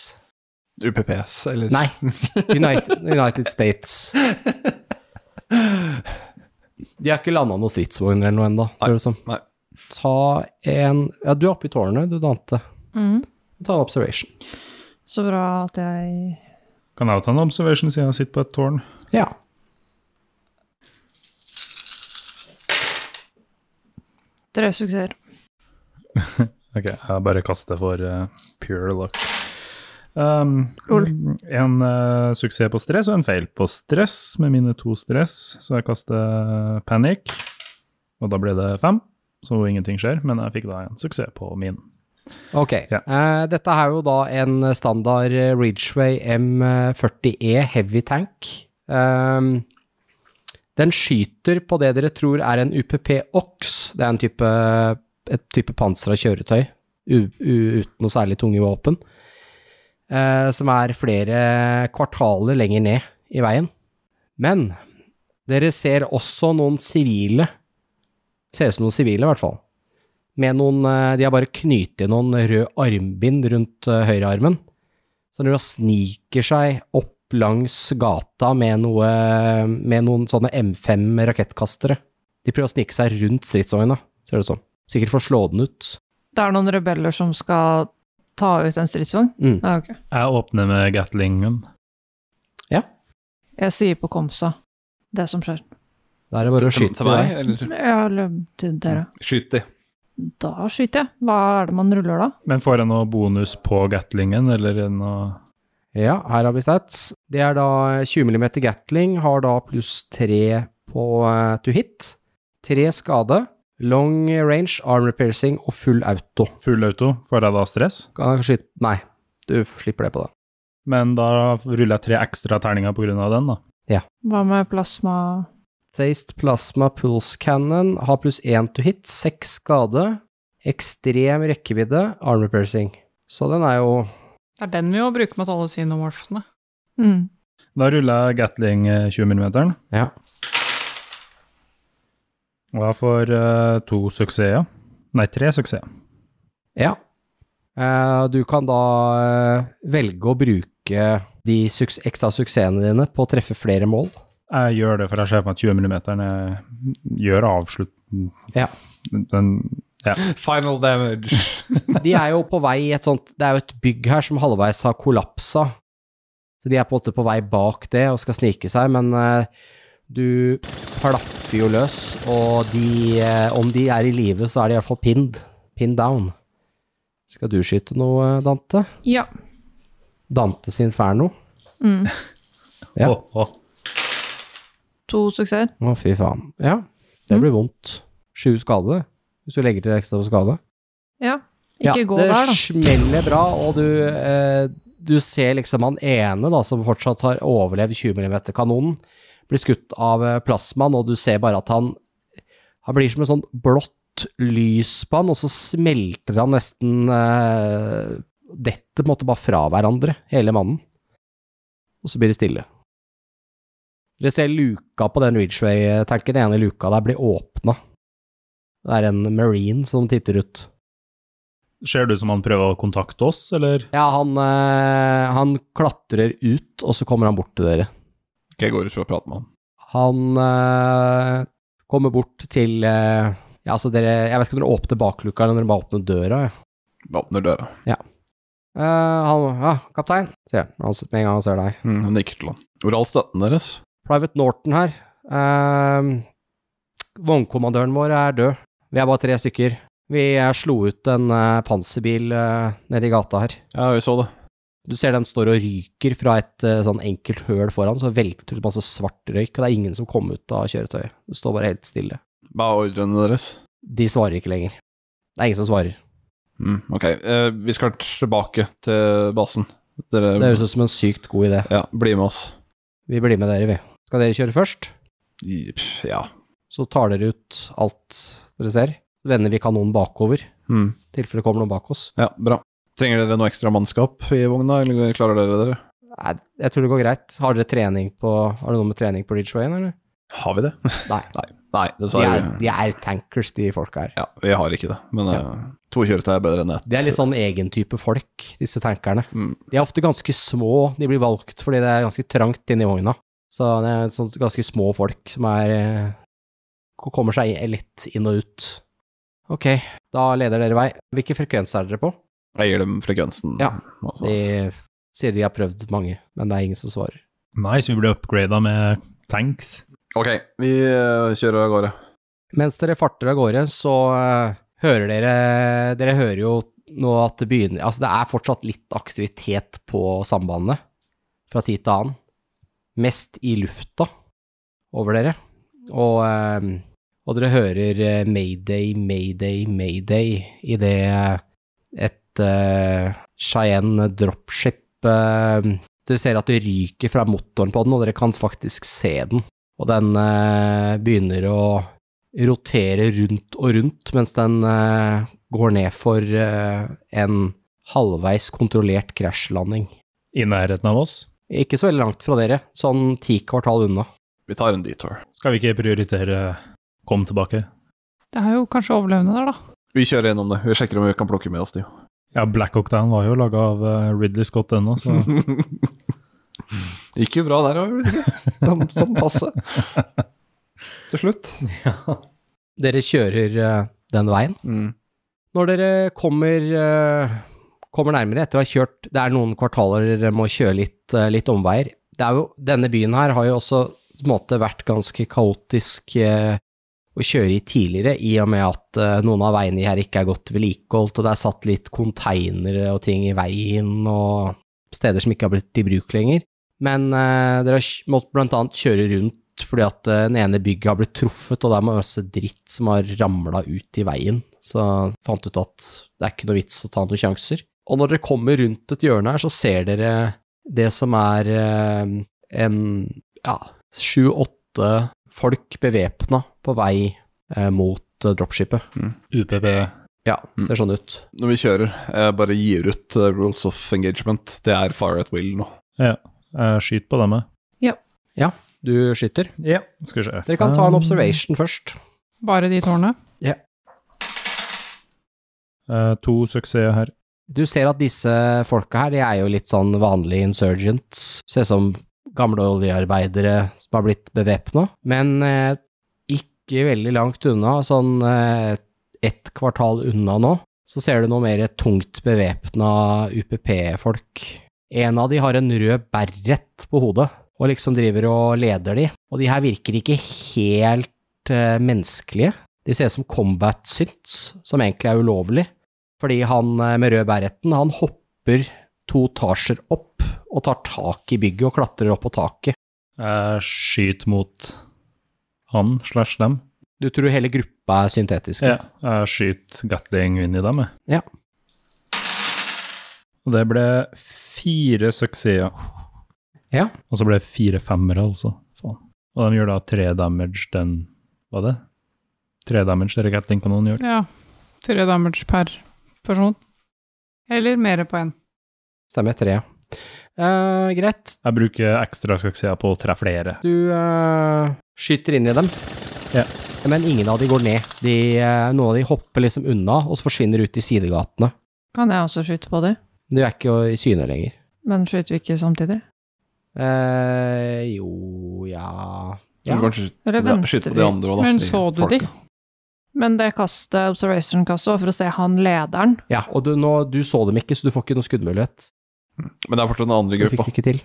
Speaker 3: UPPS, eller
Speaker 2: Nei. United, United States. De har ikke landa noen stridsvogner eller noe ennå, ser det ut som.
Speaker 3: Nei.
Speaker 2: Ta en Ja, du er oppe i tårnet, du, Dante.
Speaker 8: Mm.
Speaker 2: Ta en observation.
Speaker 8: Så bra at jeg
Speaker 5: Kan jeg jo ta en observation siden jeg sitter på et tårn?
Speaker 2: Ja.
Speaker 8: Tre suksesser.
Speaker 5: Ok, jeg bare kaster for eh, pure luck. Um,
Speaker 8: Lol.
Speaker 5: En eh, suksess på stress og en feil på stress med mine to stress, så jeg kaster eh, panic, og da ble det fem, så ingenting skjer, men jeg fikk da en suksess på min.
Speaker 2: Ok.
Speaker 5: Ja.
Speaker 2: Eh, dette er jo da en standard eh, Ridgeway M40E heavy tank. Ehm, den skyter på det dere tror er en UPP Ox. Det er en type, et type pansra kjøretøy u, u, uten noe særlig tunge våpen. eh, som er flere kvartaler lenger ned i veien. Men dere ser også noen sivile. Ser ut som noen sivile, i hvert fall med noen eh, De har bare knyttet noen røde armbind rundt eh, høyrearmen. Så når de sniker seg opp langs gata med, noe, med noen sånne M5 rakettkastere De prøver å snike seg rundt stridsvogna, ser det ut som. Sikkert for å slå den ut.
Speaker 8: Det er noen rebeller som skal ta ut en stridsvogn?
Speaker 2: Mm.
Speaker 8: Ja, ok.
Speaker 5: Jeg åpner med gatlingen.
Speaker 8: Jeg sier på Komsa det som skjer.
Speaker 2: Da er det bare å
Speaker 3: Til-
Speaker 2: skyte
Speaker 3: til meg?
Speaker 2: deg.
Speaker 3: Eller
Speaker 8: Ja, eller til dere.
Speaker 3: skyt de.
Speaker 8: Da skyter jeg. Hva er det man ruller da?
Speaker 5: Men får jeg noe bonus på gatlingen, eller noe
Speaker 2: Ja, her har vi stats. Det er da 20 mm Gatling, har da pluss 3 på eh, to hit. 3 skade, long range, arm repairing og full auto.
Speaker 5: full auto? Får jeg da stress?
Speaker 2: Kan skyte Nei, du slipper det på det.
Speaker 5: Men da ruller jeg tre ekstra terninger på grunn av den, da.
Speaker 8: Hva med plasma
Speaker 2: Taste Plasma Pulse Cannon har pluss 1 to hit, 6 skade, ekstrem rekkevidde, armor piercing. Så den er jo
Speaker 1: Det er den vi må bruke mot alle sinomorfene.
Speaker 8: mm.
Speaker 5: Da ruller jeg Gatling eh, 20 mm.
Speaker 2: Ja.
Speaker 5: Og jeg får eh, to suksesser. Nei, tre suksesser.
Speaker 2: Ja. Eh, Du kan da eh, velge å bruke de suks ekstra suksessene dine på å treffe flere mål.
Speaker 5: Jeg gjør det, for jeg ser på at 20 mm gjør avslutt...
Speaker 2: Ja.
Speaker 5: Den,
Speaker 3: Final damage.
Speaker 2: De er jo på vei i et sånt Det er jo et bygg her som halvveis har kollapsa. Så de er på en måte på vei bak det og skal snike seg, men eh, du plaffer jo løs, og de eh, Om de er i live, så er de i hvert fall pinned. Pinned down. Skal du skyte noe, eh, Dante?
Speaker 8: Ja.
Speaker 2: Dantes Inferno?
Speaker 8: Mm.
Speaker 2: Ja.
Speaker 5: Å, å.
Speaker 8: To suksesser.
Speaker 2: Å, fy faen. Ja, det blir vondt. Sju skade, hvis du legger til ekstra på skade.
Speaker 8: Ja. Ikke gå
Speaker 2: det
Speaker 8: der, da.
Speaker 2: smeller bra, og du, eh, du ser liksom han ene da, som fortsatt har overlevd 20 mm-kanonen, blir skutt av eh, plasmaen, og du ser bare at han, han blir som en sånn blått lys på han, og så smelter han nesten eh, dette på en måte bare fra hverandre, hele mannen. Og så blir det stille. Dere ser luka på den Ridgeway-tanken, den ene luka der blir åpna. Det er en marine som titter ut.
Speaker 5: Ser det ut som han prøver å kontakte oss, eller?
Speaker 2: Ja, han, eh, han klatrer ut, og så kommer han bort til dere.
Speaker 3: Ok, Jeg går ut for å prate med han.
Speaker 2: Han eh, kommer bort til eh, Ja, altså dere Jeg vet ikke om dere åpner bakluka, eller om dere bare åpner døra. Ja.
Speaker 3: Jeg åpner døra.
Speaker 2: Eh, han Ja, kaptein, sier han Han- med en gang han ser deg.
Speaker 3: Mm, han nikker til han. Hvor er all støtten deres?
Speaker 2: Private Norton her. Eh, vognkommandøren vår er død. Vi er bare tre stykker. Vi eh, slo ut en eh, panserbil eh, nede i gata her.
Speaker 3: Ja, vi så det.
Speaker 2: Du ser den står og ryker fra et eh, sånn enkelt høl foran, så velter det ut masse svart røyk, og det er ingen som kom ut av kjøretøyet. Det står bare helt stille.
Speaker 3: Hva er ordrene deres?
Speaker 2: De svarer ikke lenger. Det er ingen som svarer.
Speaker 3: Mm, ok, eh, vi skal tilbake til basen. Dere
Speaker 2: Det høres ut som en sykt god idé.
Speaker 3: ja, bli med oss.
Speaker 2: Vi blir med dere, vi. Skal dere kjøre først?
Speaker 3: I- pff, Ja.
Speaker 2: Så tar dere ut alt dere ser. Vender vi kanonen bakover, i
Speaker 3: Mm,
Speaker 2: tilfelle det kommer noen bak oss.
Speaker 3: ja, bra. Trenger dere noe ekstra mannskap i vogna, eller klarer dere dere?
Speaker 2: Nei, jeg tror det går greit. Har dere trening på Har du noe med trening på Ridgewayen, eller?
Speaker 3: Har vi det?
Speaker 2: Nei.
Speaker 3: Nei,
Speaker 2: De
Speaker 3: dessverre.
Speaker 2: er, de er tankers, de folka her.
Speaker 3: Ja, vi har ikke det, men
Speaker 2: Ja.
Speaker 3: eh, to kjøretøy er bedre enn ett.
Speaker 2: De er litt sånn egen type folk, disse tankerne.
Speaker 3: Mm.
Speaker 2: De er ofte ganske små. De blir valgt fordi det er ganske trangt inni vogna. Så det er sånn ganske små folk som er eh, Kommer seg lett inn og ut. Ok, da leder dere vei. Hvilken frekvens er dere på?
Speaker 3: Jeg gir dem frekvensen.
Speaker 2: Ja.
Speaker 3: altså.
Speaker 2: De sier de har prøvd mange, men det er ingen som svarer.
Speaker 5: Nice, vi blir upgrada med tanks.
Speaker 3: Ok, vi eh, kjører av gårde.
Speaker 2: Mens dere farter av gårde, så eh, hører dere Dere hører jo nå at det begynner Altså, det er fortsatt litt aktivitet på sambandet fra tid til annen. Mest i lufta over dere. Og, eh, og dere hører eh, mayday, mayday, mayday idet et eh, Cheyenne dropship eh, Dere ser at det ryker fra motoren på den, og dere kan faktisk se den. Og den eh, begynner å rotere rundt og rundt mens den eh, går ned for eh, en halvveis kontrollert krasjlanding.
Speaker 5: I nærheten av oss.
Speaker 2: Ikke så veldig langt fra dere, sånn ti kvartal unna.
Speaker 3: Vi tar en detour.
Speaker 5: Skal vi ikke prioritere kom tilbake?
Speaker 1: Det er jo kanskje overlevende der, da.
Speaker 3: Vi kjører gjennom det. Vi sjekker om vi kan plukke med oss de.
Speaker 5: Ja, Black Octane var jo laga av eh, Ridley Scott ennå, så
Speaker 3: Gikk jo bra der òg, sånn, sånn passe. Til slutt.
Speaker 2: Dere kjører eh, den veien.
Speaker 3: Mm.
Speaker 2: Når dere kommer, eh, kommer nærmere etter å ha kjørt Det er noen kvartaler dere må kjøre litt, eh, litt omveier. Det er jo, denne byen her har jo også på en måte vært ganske kaotisk eh, å kjøre i tidligere, i og med at eh, noen av veiene her ikke er godt vedlikeholdt, og det er satt litt konteinere og ting i veien, og steder som ikke har blitt i bruk lenger. Men eh, dere har kj- måttet blant annet kjøre rundt fordi at eh, den ene bygget har blitt truffet, og det er masse dritt som har ramla ut i veien. Så fant ut at det er ikke noe vits å ta noen sjanser. Og når dere kommer rundt et hjørne her, så ser dere det som er eh, en ja, sju-åtte folk bevæpna på vei eh, mot eh, dropshipet.
Speaker 5: UPP
Speaker 2: Ja, ser sånn ut.
Speaker 3: Når vi kjører, jeg bare gir ut eh, rules of engagement. Det er fire at will nå.
Speaker 5: eh, Skyt på dem. eh.
Speaker 2: Du skyter.
Speaker 5: Ja, skal vi se
Speaker 2: Dere kan ta
Speaker 5: Fem.
Speaker 2: en observation først.
Speaker 1: Bare de tårnene.
Speaker 5: Eh, to suksesser her.
Speaker 2: Du ser at disse folka her, de er jo litt sånn vanlige insurgents. Ser ut som gamle oljearbeidere som har blitt bevæpna. Men eh, ikke veldig langt unna, sånn eh, ett kvartal unna nå, så ser du noe mer tungt bevæpna UPP-folk. En av de har en rød beret på hodet, og liksom driver og leder de. Og de her virker ikke helt eh, menneskelige. De ser ut som combat synts, som egentlig er ulovlig. Fordi han eh, med rød bærretten, han hopper to etasjer opp og tar tak i bygget og klatrer opp på taket.
Speaker 5: Eh, skyt mot han slash dem.
Speaker 2: Du tror hele gruppa er syntetiske.
Speaker 5: Ja, eh, skyt gatting inn i dem. jeg.
Speaker 2: Ja.
Speaker 5: Og det ble fire suksesser.
Speaker 2: Ja.
Speaker 5: Og så ble det fire femmere, altså. Faen. Og de gjør da tre damage den Hva det? Tre damage dere gattingkanonen gjør.
Speaker 1: Ja. Tre damage per person. Eller mer på én.
Speaker 2: Stemmer, tre. Eh, greit.
Speaker 5: Jeg bruker ekstra suksesser på å treffe flere.
Speaker 2: Du eh, skyter inn i dem.
Speaker 5: Ja.
Speaker 2: Men ingen av de går ned. De, eh, noen av de hopper liksom unna, og så forsvinner ut i sidegatene.
Speaker 8: Kan jeg også skyte på de?
Speaker 2: Du er ikke i syne lenger.
Speaker 8: Men skyter vi ikke samtidig?
Speaker 2: Eh, jo, ja
Speaker 3: Du
Speaker 2: Ja.
Speaker 3: kan skyte
Speaker 8: Eller
Speaker 3: Ja,
Speaker 8: venter
Speaker 3: skyt på
Speaker 8: vi?
Speaker 3: de andre også, da.
Speaker 8: Men
Speaker 3: De
Speaker 8: så du de?
Speaker 3: folka.
Speaker 8: Men det kastet, observation-kastet, var for å se han lederen.
Speaker 2: ja og du, nå, du så dem ikke, så du får ikke noen skuddmulighet.
Speaker 3: Men det er fortsatt den andre
Speaker 2: Du fikk
Speaker 3: gruppa.
Speaker 2: det ikke til.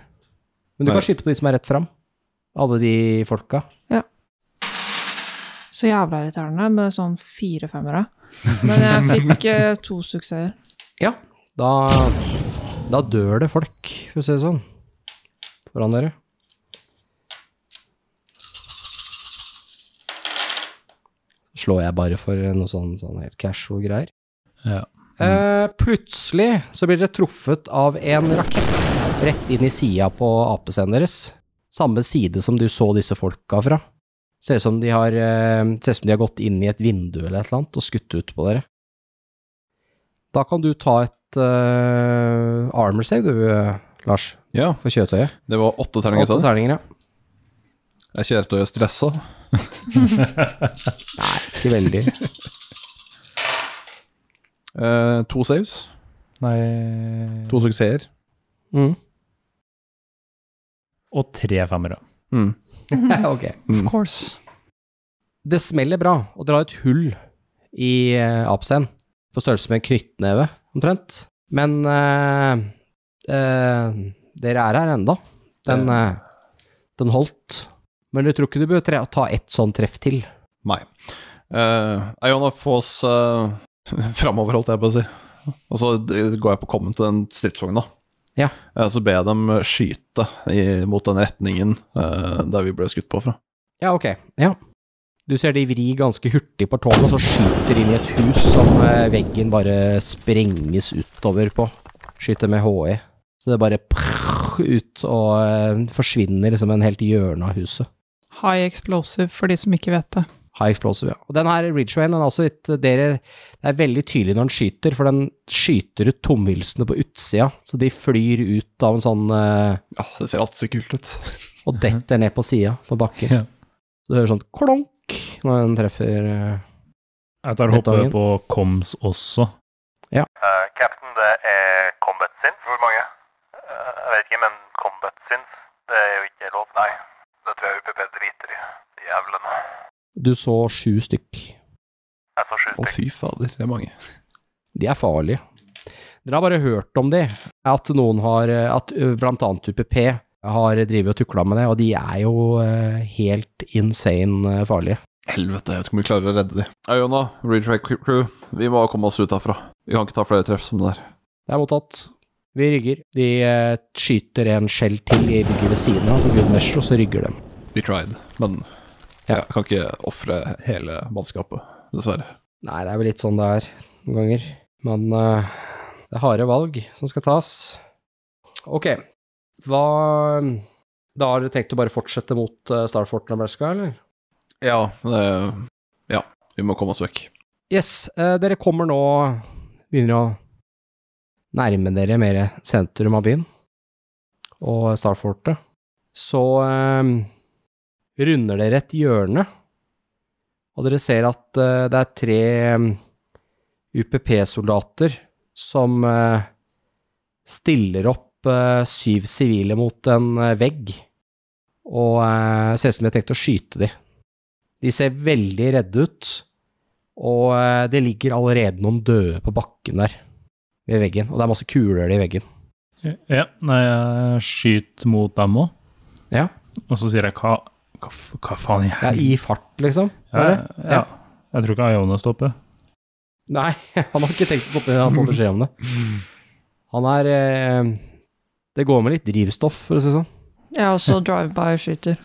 Speaker 2: Men du
Speaker 3: Nei.
Speaker 2: kan skyte på de som er rett fram. Alle de folka.
Speaker 8: Så jævla irriterende med sånn fire femmere. Men jeg fikk eh, to suksesser.
Speaker 2: Ja, da, da dør det folk, for å si det sånn, foran dere. Slår jeg bare for noe sånn, sånn helt casual greier.
Speaker 5: Ja.
Speaker 2: Eh, plutselig så blir dere truffet av en rakett rett inn i sida på apescenen deres. Samme side som du så disse folka fra. Ser ut som de har, eh, ser ut som de har gått inn i et vindu eller et eller annet og skutt ut på dere. Da kan du ta et eh, armor save, du, eh, Lars,
Speaker 3: Ja,
Speaker 2: for kjøtøyet.
Speaker 3: det sånn? var åtte
Speaker 2: Åtte
Speaker 3: terninger, sa du?
Speaker 2: terninger, ja.
Speaker 3: Jeg kjørte og stressa.
Speaker 2: Ikke veldig.
Speaker 3: Eh, to saves,
Speaker 5: Nei
Speaker 3: to suksesser.
Speaker 2: Mm.
Speaker 5: Og tre femmere.
Speaker 3: Mm.
Speaker 2: ok.
Speaker 3: Mm.
Speaker 1: course.
Speaker 2: Det smeller bra, og dere har et hull i eh, apescenen. På størrelse med en knyttneve, omtrent. Men eh, eh, dere er her enda. Den, eh, den holdt. Men du tror ikke du bør tre ta ett sånn treff til?
Speaker 3: Nei. Eh, jeg gonna få oss uh, framover, holdt jeg på å si. Og så d- går jeg på kommen til den stridsvogna.
Speaker 2: Ja.
Speaker 3: Eh, så ber jeg dem skyte i, mot den retningen eh, der vi ble skutt på fra.
Speaker 2: Ja, ok. Ja. Du ser de vri ganske hurtig på tårnet, og så skyter inn i et hus som eh, veggen bare sprenges utover på. Skyter med HE. Så det bare prrr ut og eh, forsvinner liksom en helt hjørne av huset.
Speaker 1: High explosive, for de som ikke vet det.
Speaker 2: High explosive, ja. Og den her Ridgewayen, den er også litt eh, dere, Det er veldig tydelig når den skyter, for den skyter ut tomhylsene på utsida, så de flyr ut av en sånn eh,
Speaker 3: Ja, det ser alltid så kult ut.
Speaker 2: og detter ned på sida, på bakken.
Speaker 5: Ja.
Speaker 2: Så du hører sånn klonk når den treffer eh,
Speaker 5: Jeg tar
Speaker 2: Dette
Speaker 5: hoppet
Speaker 2: gangen.
Speaker 5: på koms også.
Speaker 7: Eh, Captain, det er combat sins. Hvor mange? Eh, jeg vet ikke, men combat sins, det er jo ikke lov. Nei, det tror jeg UPP driter i. Jævlene.
Speaker 2: Du så sju stykk.
Speaker 7: Jeg så sju
Speaker 3: Å, fy fader, det er mange.
Speaker 2: De er farlige. Dere har bare hørt om de, at noen har, at ø, blant annet UPP har drevet og tukla med det, og de er jo eh, helt insane eh, farlige.
Speaker 3: Helvete, jeg vet ikke om vi klarer å redde de. Ja, Jonna, Retrack Crew, vi må komme oss ut herfra. Vi kan ikke ta flere treff som det her.
Speaker 2: Det er mottatt. Vi rygger. De eh, skyter en skjell til i bygget ved siden av, på Goodmeasure, og så rygger de.
Speaker 3: We tried, men
Speaker 2: Ja.
Speaker 3: jeg kan ikke ofre hele mannskapet, dessverre.
Speaker 2: Nei, det er vel litt sånn det er noen ganger. Men eh, det er harde valg som skal tas. Ok, hva Da har dere tenkt å bare fortsette mot eh, Starfort Nebraska, eller?
Speaker 3: Ja, det, ja, vi må komme oss vekk.
Speaker 2: Yes, eh, dere kommer nå Begynner å nærme dere mer sentrum av byen og Starfortet. Så eh, runder dere et hjørne, og dere ser at eh, det er tre eh, UPP-soldater som eh, stiller opp eh, syv sivile mot en eh, vegg, og eh, ser ut som de har tenkt å skyte dem. De ser veldig redde ut. Og eh, det ligger allerede noen døde på bakken der, ved veggen. Og det er masse kuler i veggen.
Speaker 5: Ja, nei, jeg skyter mot dem òg.
Speaker 2: Ja.
Speaker 5: Og så sier jeg hva, hva, f- hva faen i
Speaker 2: Ja,
Speaker 5: hel-
Speaker 2: I fart, liksom.
Speaker 5: Ja,
Speaker 2: Bare.
Speaker 5: ja. Jeg tror ikke Ione stopper.
Speaker 2: Nei, han har ikke tenkt å stoppe det, han får beskjed om det. Han er eh, Det går med litt drivstoff, for å si det sånn.
Speaker 8: Jeg også drive-by-skyter.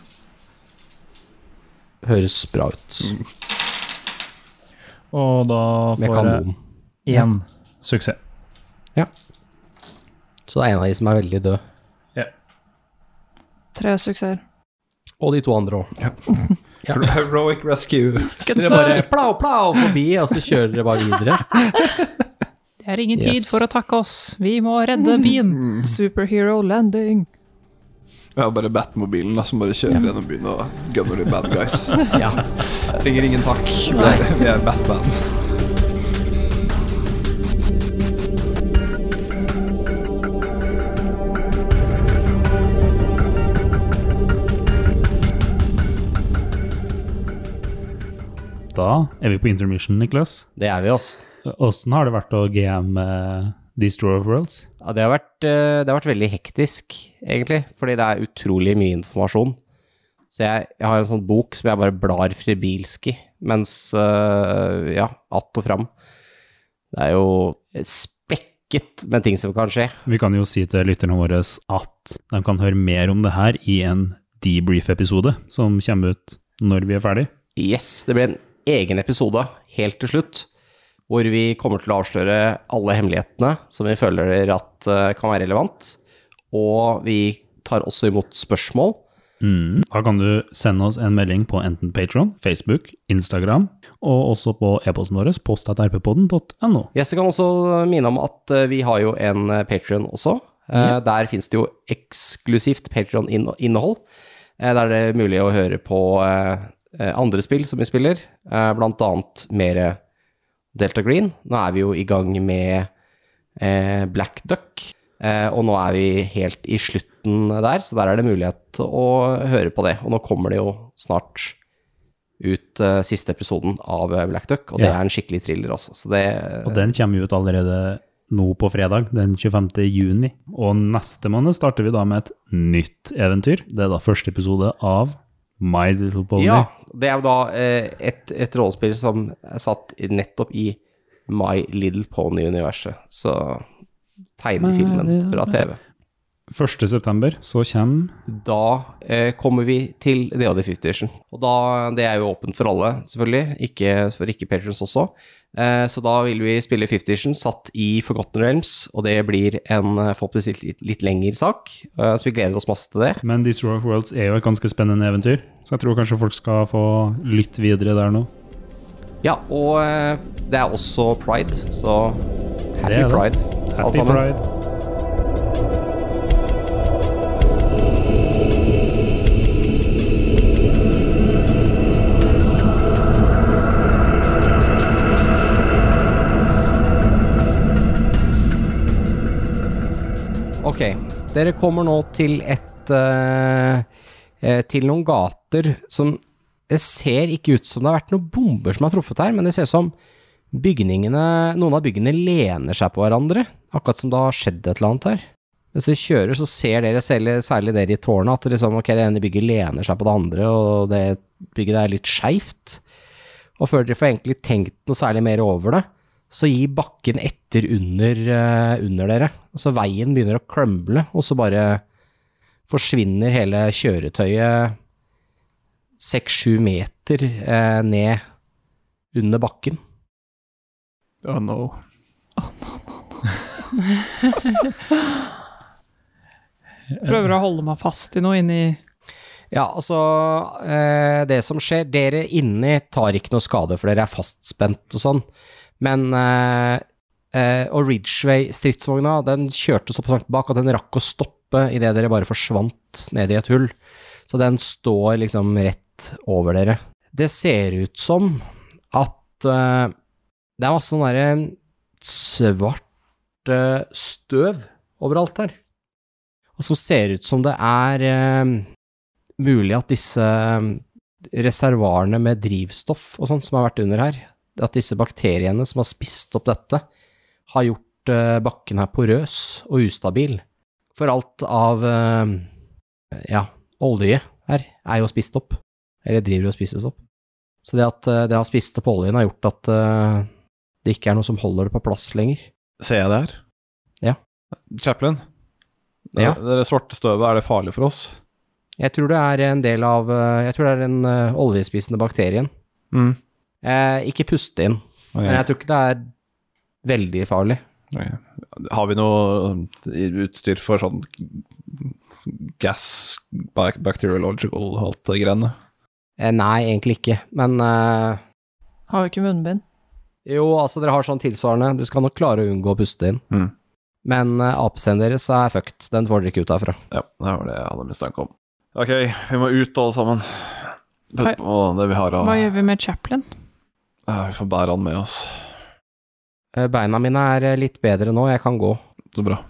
Speaker 2: Høres bra ut.
Speaker 5: Mm, Og da
Speaker 2: Med
Speaker 5: får
Speaker 2: kanon.
Speaker 5: jeg én suksess.
Speaker 2: Så det er en av de som er veldig død.
Speaker 8: Tre suksesser.
Speaker 2: Og de to andre òg. Ja.
Speaker 3: Heroic Rescue.
Speaker 2: Dere bare plau, plau forbi, og så kjører dere bare videre.
Speaker 1: Det er ingen tid
Speaker 2: Yes.
Speaker 1: for å takke oss. Vi må redde byen.
Speaker 8: Mm. Superhero landing.
Speaker 3: Jeg har bare Batmobilen da, som bare kjører gjennom byen og gunner de bad guys.
Speaker 2: Ja.
Speaker 3: Trenger ingen takk. Vi er, vi er Batman.
Speaker 5: da er vi på intermission, Niklas.
Speaker 2: Det er vi, altså.
Speaker 5: Åssen har det vært å GM eh, Destroyer of Worlds?
Speaker 2: Ja, det, har vært, eh, det har vært veldig hektisk, egentlig, fordi det er utrolig mye informasjon. Så jeg, jeg har en sånn bok som jeg bare blar fribilski, mens eh, ja, att og fram. Det er jo spekket med ting som kan skje.
Speaker 5: Vi kan jo si til lytterne våre at de kan høre mer om det her i en debrief-episode som kommer ut når vi er ferdig.
Speaker 2: Yes, det blir en egen episode helt til slutt, hvor vi kommer til å avsløre alle hemmelighetene som vi føler at eh, kan være relevant. Og vi tar også imot spørsmål.
Speaker 5: Mm. Da kan du sende oss en melding på enten Patron, Facebook, Instagram, og også på e-posten vår, post.rppodden.no.
Speaker 2: Yes, jeg kan også minne om at eh, vi har jo en Patrion også. Eh, Der finnes det jo eksklusivt Patrion-innhold. Der er det mulig å høre på eh, eh, andre spill som vi spiller, eh, blant annet mer eh, Delta Green. Nå er vi jo i gang med eh, Black Duck, eh, og nå er vi helt i slutten der, så der er det mulighet å høre på det. Og nå kommer det jo snart ut eh, siste episoden av eh, Black Duck, og det
Speaker 5: Ja.
Speaker 2: er en skikkelig thriller, altså. Så det,
Speaker 5: Og den kommer jo ut allerede nå på fredag, den 25. juni. Og neste måned starter vi da med et nytt eventyr. Det er da første episode av My Little Pony.
Speaker 2: Ja, det er jo da eh, et, et rollespill som er satt i- nettopp i My Little Pony-universet. Så tegnefilmen fra TV.
Speaker 5: 1. september så kommer
Speaker 2: Da eh, kommer vi til The Other Fifty-Edition. Og da, det er jo åpent for alle, selvfølgelig. Ikke for ikke-patrons også. Eh, så da vil vi spille Fifty-Edition satt i Forgotten Realms, og det blir en eh, forhåpentligvis litt, litt lengre sak. Eh, så vi gleder oss masse til det.
Speaker 5: Men These Royal Worlds er jo et ganske spennende eventyr, så jeg tror kanskje folk skal få lytte videre der nå.
Speaker 2: Ja, og eh, det er også pride, så
Speaker 5: Det
Speaker 2: happy
Speaker 5: er det.
Speaker 2: pride, alle
Speaker 5: Happy
Speaker 2: sammen.
Speaker 5: Pride!
Speaker 2: Ok, dere kommer nå til et eh, eh, Til noen gater som Det ser ikke ut som det har vært noen bomber som har truffet her, men det ser ut som bygningene Noen av byggene lener seg på hverandre. Akkurat som det har skjedd et eller annet her. Mens dere kjører, så ser dere, særlig, særlig dere i tårnet, at det liksom, ok, det ene bygget lener seg på det andre, og det bygget der er litt skeivt. Og før dere får egentlig tenkt noe særlig mer over det, så gi bakken etter under, eh, under dere. Så veien begynner å krømble, og så bare forsvinner hele kjøretøyet seks-sju meter eh, ned under bakken.
Speaker 3: Oh no.
Speaker 1: Prøver å holde meg fast i noe inni
Speaker 2: Ja, altså eh, Det som skjer Dere inni tar ikke noe skade, for dere er fastspent og sånn. Men eh, eh, Og Ridgeway-stridsvogna, den kjørte så langt bak at den rakk å stoppe idet dere bare forsvant ned i et hull. Så den står liksom rett over dere. Det ser ut som at eh, det er masse sånn derre svart eh, støv overalt her. Og som ser ut som det er eh, mulig at disse um, reservoarene med drivstoff og sånt som har vært under her, at disse bakteriene som har spist opp dette, har gjort eh, bakken her porøs og ustabil. For alt av eh, ja, olje her er jo spist opp, eller driver og spises opp. Så det at eh, det har spist opp oljen har gjort at eh, det ikke er noe som holder det på plass lenger.
Speaker 3: Ser jeg det her?
Speaker 2: Ja.
Speaker 3: Chaplin? Det,
Speaker 2: Ja.
Speaker 3: det der svarte støvet, er det farlig for oss?
Speaker 2: Jeg tror det er en del av eh, Jeg tror det er den eh, oljespisende bakterien.
Speaker 3: Mm.
Speaker 2: Eh, ikke puste inn.
Speaker 3: Ok.
Speaker 2: Men jeg tror ikke det er veldig farlig.
Speaker 3: Ok. Har vi noe utstyr for sånn gas bac- bacteriological alt det greiene?
Speaker 2: Eh, nei, egentlig ikke. Men eh,
Speaker 8: Har jo ikke munnbind.
Speaker 2: jo, altså, dere har sånn tilsvarende. Du skal nok klare å unngå å puste inn.
Speaker 3: Mm.
Speaker 2: Men eh, apescenen deres er fucked. Den får dere ikke ut herfra.
Speaker 3: Ja, det var det jeg hadde mistanke om. Ok, vi må ut alle sammen. Putt på det vi har av
Speaker 1: Hva gjør vi med Chaplin?
Speaker 3: Ja, Vi får bære han med oss.
Speaker 2: Eh, beina mine er eh, litt bedre nå. Jeg kan gå.
Speaker 3: Så bra.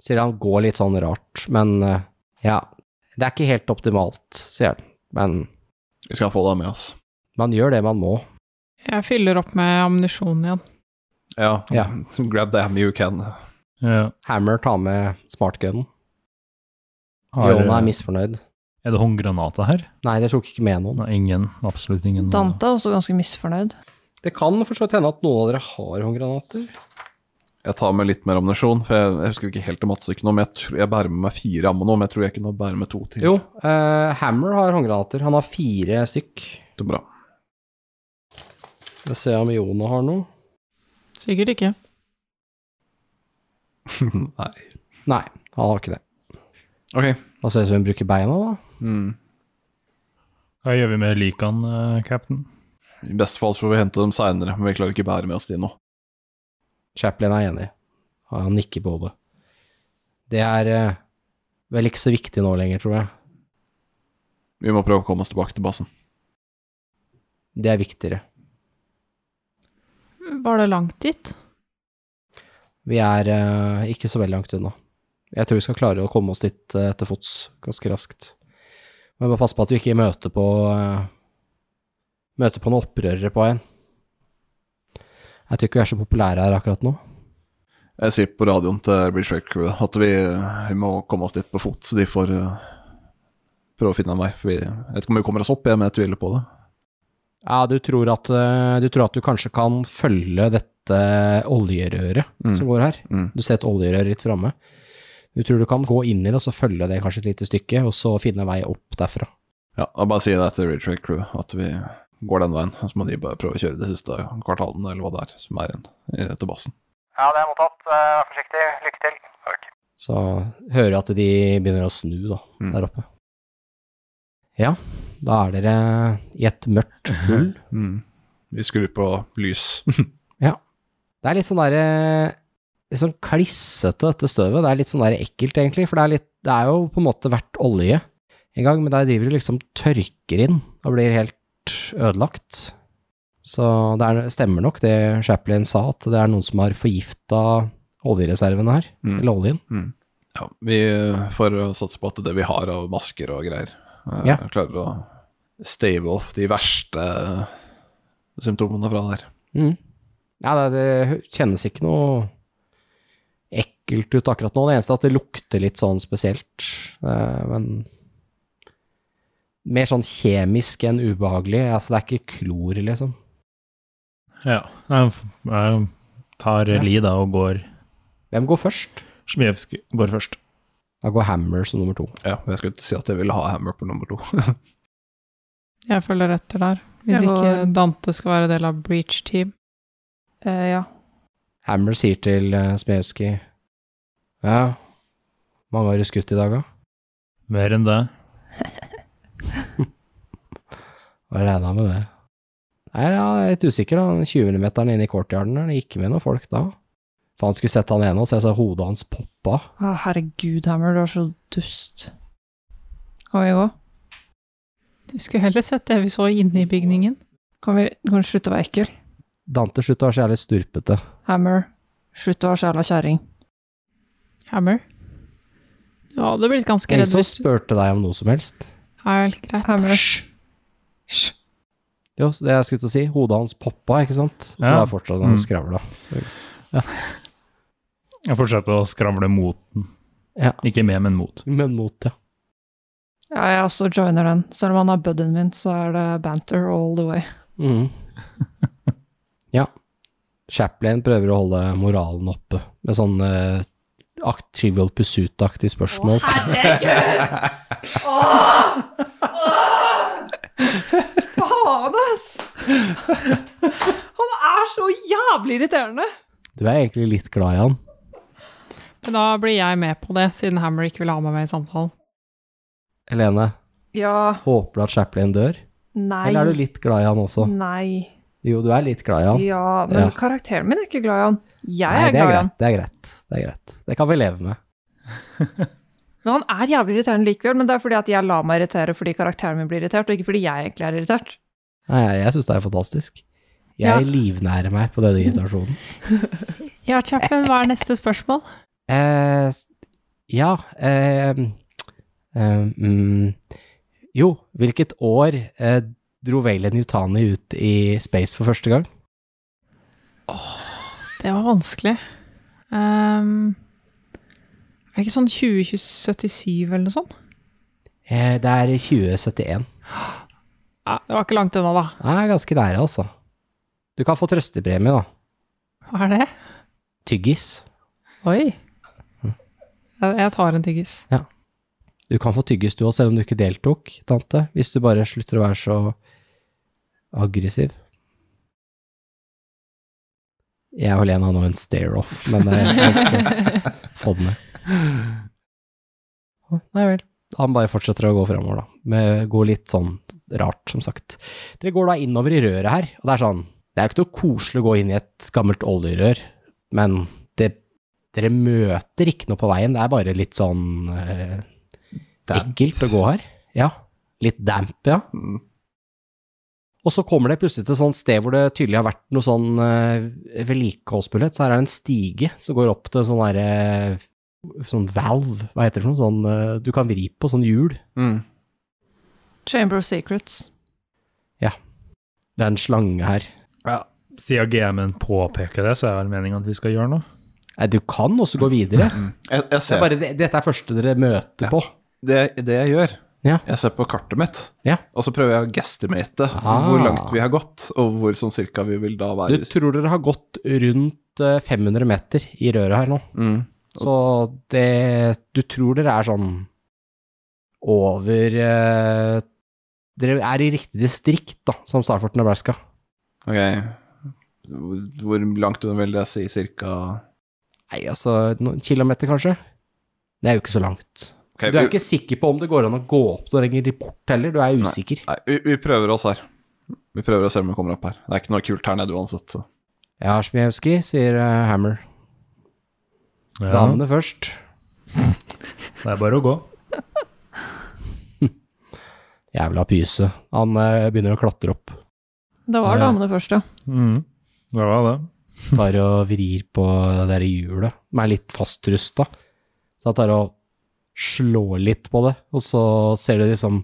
Speaker 2: Sier han går litt sånn rart. Men eh, ja, det er ikke helt optimalt, sier han. Men
Speaker 3: Vi skal få deg med oss.
Speaker 2: man gjør det man må.
Speaker 1: Jeg fyller opp med ammunisjon igjen.
Speaker 3: Ja.
Speaker 2: Ja.
Speaker 3: Grab the ammo you can.
Speaker 5: Ja.
Speaker 2: Hammer tar med smartgunnen.
Speaker 5: Har,
Speaker 2: Jona er
Speaker 5: eh,
Speaker 2: misfornøyd.
Speaker 5: er det håndgranater her?
Speaker 2: Nei, det tok ikke med noen.
Speaker 5: Nei, ingen. Absolutt ingen.
Speaker 8: Dante er også ganske misfornøyd.
Speaker 2: Det kan for så vidt hende at noen av dere har håndgranater.
Speaker 3: Jeg tar med litt mer ammunisjon, for jeg, jeg husker ikke helt det mattestykket nå, men jeg, tror, jeg bærer med meg fire ammo nå, men jeg tror jeg kunne bære med to til.
Speaker 2: Jo, eh, Hammer har håndgranater. Han har fire stykk.
Speaker 3: Det er bra.
Speaker 2: Jeg ser om Jona har noe.
Speaker 1: Sikkert ikke.
Speaker 3: Nei.
Speaker 2: Nei, han har ikke det.
Speaker 3: Ok.
Speaker 2: Da ser det ut som hun bruker beina, da.
Speaker 3: Mm.
Speaker 5: Hva gjør vi med likene, eh, cap'n?
Speaker 3: I beste fall så får vi hente dem seinere, men vi klarer ikke bære med oss de nå.
Speaker 2: Chaplin er enig. Han nikker på det. Det er eh, vel ikke så viktig nå lenger, tror jeg.
Speaker 3: Vi må prøve å komme oss tilbake til basen.
Speaker 2: Det er viktigere.
Speaker 1: Var det langt dit?
Speaker 2: Vi er eh, ikke så veldig langt unna. Jeg tror vi skal klare å komme oss dit eh, til fots ganske raskt. Men bare passe på at vi ikke møter på eh, Møter på noen opprørere på veien. Jeg tror ikke vi er så populære her akkurat nå.
Speaker 3: Jeg sier på radioen til Bridge Wake Crew at vi, vi må komme oss dit på fot, så de får eh, prøve å finne en vei. For vi, jeg vet ikke om vi kommer oss opp, jeg, men jeg tviler på det.
Speaker 2: Ja, du tror at, eh, du, tror at du kanskje kan følge dette oljerøret
Speaker 3: Mm.
Speaker 2: som går her.
Speaker 3: Mm.
Speaker 2: Du ser et oljerør litt framme. Du tror du kan gå inn i det, og så følge det kanskje et lite stykke, og så finne vei opp derfra.
Speaker 3: Ja, jeg bare sier det til Bridge Wake Crew, at vi går den veien. Så må de bare prøve å kjøre de siste kvartalene, eller hva det er, som er igjen i- til basen.
Speaker 7: Ja, det er mottatt. Eh, Vær forsiktig. Lykke til. Takk.
Speaker 2: Så hører jeg at de begynner å snu da,
Speaker 3: Mm.
Speaker 2: der oppe. Ja, da er dere i et mørkt hull.
Speaker 3: Mm. Vi skrur på lys.
Speaker 2: Det er litt sånn derre Litt sånn klissete, dette støvet. Det er litt sånn der ekkelt, egentlig, for det er, litt, det er jo på en måte vært olje en gang, men der driver du liksom tørker inn og blir helt ødelagt. Så det er, stemmer nok det Chaplin sa, at det er noen som har forgifta oljereservene her,
Speaker 3: Mm.
Speaker 2: eller oljen.
Speaker 3: Ja, vi får eh, satse på at det vi har av masker og greier, eh,
Speaker 2: Ja.
Speaker 3: klarer å stave off de verste symptomene fra der.
Speaker 2: Mm. Ja, det, det kjennes ikke noe ekkelt ut akkurat nå. Det eneste er at det lukter litt sånn spesielt. eh, Men mer sånn kjemisk enn ubehagelig. Altså, det er ikke klor, liksom.
Speaker 5: Ja. Jeg f- jeg tar
Speaker 2: Ja.
Speaker 5: li, da, og går
Speaker 2: Hvem går først?
Speaker 5: Smijevskij går først.
Speaker 2: Da går Hammer som nummer to.
Speaker 3: Ja, jeg skulle ikke si at jeg ville ha hammer på nummer to.
Speaker 1: Jeg følger etter der. Hvis
Speaker 8: Jeg går-
Speaker 1: ikke Dante skal være del av Breach Team.
Speaker 8: Eh, ja.
Speaker 2: Hammer sier til eh, Smejewski Ja, mange har du skutt i dag, da?
Speaker 5: Mer enn det.
Speaker 2: Hva regna med det? Nei, ja, jeg er litt usikker, da. Den 20 mm-en inne i courtyarden der, det gikk med noen folk da. Faen, skulle sett han ene, og så jeg så hodet hans poppa.
Speaker 8: Å, Ah, herregud, Hammer, du er så dust. Kan vi gå?
Speaker 1: Du skulle heller sett det vi så inne i bygningen.
Speaker 8: Kan vi kan du slutte å være ekkel?
Speaker 2: Dante slutta å være så jævlig sturpete.
Speaker 8: Hammer, slutt å være så jævla kjerring.
Speaker 1: Hammer. Du hadde blitt ganske
Speaker 2: Ingen
Speaker 1: redd
Speaker 2: som
Speaker 1: hvis du
Speaker 2: spurte deg om noe som helst.
Speaker 1: Ja, vel, greit.
Speaker 8: Hammer.
Speaker 1: Hysj.
Speaker 2: Jo, så det jeg skulle til å si, hodet hans poppa, ikke sant? Så
Speaker 5: Ja.
Speaker 2: da fortsatte han å
Speaker 5: Mm.
Speaker 2: skravle.
Speaker 5: Jeg fortsetter å skravle mot den.
Speaker 2: Ja.
Speaker 5: Ikke med, men mot.
Speaker 2: Men mot, ja.
Speaker 8: Ja, jeg også joiner den. Selv om han er buddyen min, så er det banter all the way.
Speaker 2: Mhm. ja. Chaplin prøver å holde moralen oppe med sånn eh, akt, trivial pursuit-aktig spørsmål.
Speaker 8: Faen, ass! Han er så jævlig irriterende!
Speaker 2: Du er egentlig litt glad i han.
Speaker 1: Men da blir jeg med på det, siden Hammer ikke vil ha meg med i samtalen.
Speaker 2: Helene,
Speaker 8: Ja,
Speaker 2: håper du at Chaplin dør?
Speaker 8: nei.
Speaker 2: Eller er du litt glad i han også?
Speaker 8: Nei.
Speaker 2: Jo, du er litt glad i han.
Speaker 8: Ja, men
Speaker 2: Ja.
Speaker 8: karakteren min er ikke glad i han. Jeg
Speaker 2: Nei,
Speaker 8: er
Speaker 2: det er
Speaker 8: glad i han.
Speaker 2: greit. Det er greit. Det er greit. Det kan vi leve med.
Speaker 8: Men han er jævlig irriterende likevel, men det er fordi at jeg lar meg irritere fordi karakteren min blir irritert, og ikke fordi jeg egentlig er irritert.
Speaker 2: Nei, jeg, jeg syns det er fantastisk. Jeg
Speaker 8: Ja.
Speaker 2: livnærer meg på denne irritasjonen.
Speaker 1: Ja, Chaplin, hva er neste spørsmål?
Speaker 2: Eh, s- ja eh, eh, mm, Jo, hvilket år eh, dro Valen Yutani ut i space for første gang.
Speaker 1: Det var vanskelig. Ehm, er det ikke sånn 2077 eller noe sånt?
Speaker 2: Eh, Det er 2071.
Speaker 1: Ja, det var ikke langt unna, da.
Speaker 2: Det er ganske nære, altså. Du kan få trøstepremie, da.
Speaker 1: Hva er det?
Speaker 2: Tyggis.
Speaker 1: Oi. Jeg, jeg tar en tyggis.
Speaker 2: Du kan få tyggis du òg, selv om du ikke deltok, tante. Hvis du bare slutter å være så aggressiv. Jeg og Lena har nå en stare-off, men eh, jeg skal få den med. Å, Nei vel. Han bare fortsetter å gå framover, da. Med, går litt sånn rart, som sagt. Dere går da innover i røret her, og det er sånn Det er jo ikke noe koselig å gå inn i et gammelt oljerør, men det, dere møter ikke noe på veien. Det er bare litt sånn eh,
Speaker 3: Damp.
Speaker 2: ekkelt å gå her. Ja. Litt damp, ja.
Speaker 3: Mm.
Speaker 2: Og så kommer det plutselig til et sånt sted hvor det tydelig har vært noe sånn uh, vedlikeholdsmulighet. Så her er det en stige som går opp til en sånn derre Sånn valve, hva heter det for noe? Sånn eh, du kan vri på, sånn hjul.
Speaker 3: Mm.
Speaker 8: Chamber of Secrets.
Speaker 2: Det er en slange her.
Speaker 5: Siden GM-en påpeker det, så er det vel meningen at vi skal gjøre noe.
Speaker 2: Nei, du kan også gå videre.
Speaker 3: Jeg, jeg
Speaker 2: Det
Speaker 3: ser
Speaker 2: er bare, det, dette er første dere møter på.
Speaker 3: det, det jeg gjør,
Speaker 2: Ja.
Speaker 3: jeg ser på kartet mitt,
Speaker 2: Ja.
Speaker 3: og så prøver jeg å gestimate
Speaker 2: Ah.
Speaker 3: hvor langt vi har gått, og hvor sånn cirka vi vil da
Speaker 2: Du
Speaker 3: være.
Speaker 2: tror dere har gått rundt eh, 500 meter i røret her nå.
Speaker 3: Mm.
Speaker 2: Så det Du tror dere er sånn over eh, Dere er i riktig distrikt, da, som Starfort Nebraska.
Speaker 3: Ok, Hvor- hvor langt unna vil jeg si cirka?
Speaker 2: Nei, altså noen kilometer, kanskje? Det er jo ikke så langt.
Speaker 3: Ok,
Speaker 2: Du er
Speaker 3: vi-
Speaker 2: ikke sikker på om det går an å gå opp noe lenger bort heller, du er usikker.
Speaker 3: Nei, vi, vi prøver oss her. Vi prøver å se om vi kommer opp her. Det er ikke noe kult her nede uansett. Så.
Speaker 2: Jeg har Smijewski, sier eh, Hammer.
Speaker 5: Ja,
Speaker 2: Damene først.
Speaker 5: det er bare å gå.
Speaker 2: Jævla pyse. Han eh, begynner å klatre opp.
Speaker 8: Det var
Speaker 5: Ja.
Speaker 8: damene først, ja.
Speaker 5: Mm. Det var det.
Speaker 2: Tar og vrir på det der hjulet, som er litt fastrusta. Så han tar og slår litt på det, og så ser du liksom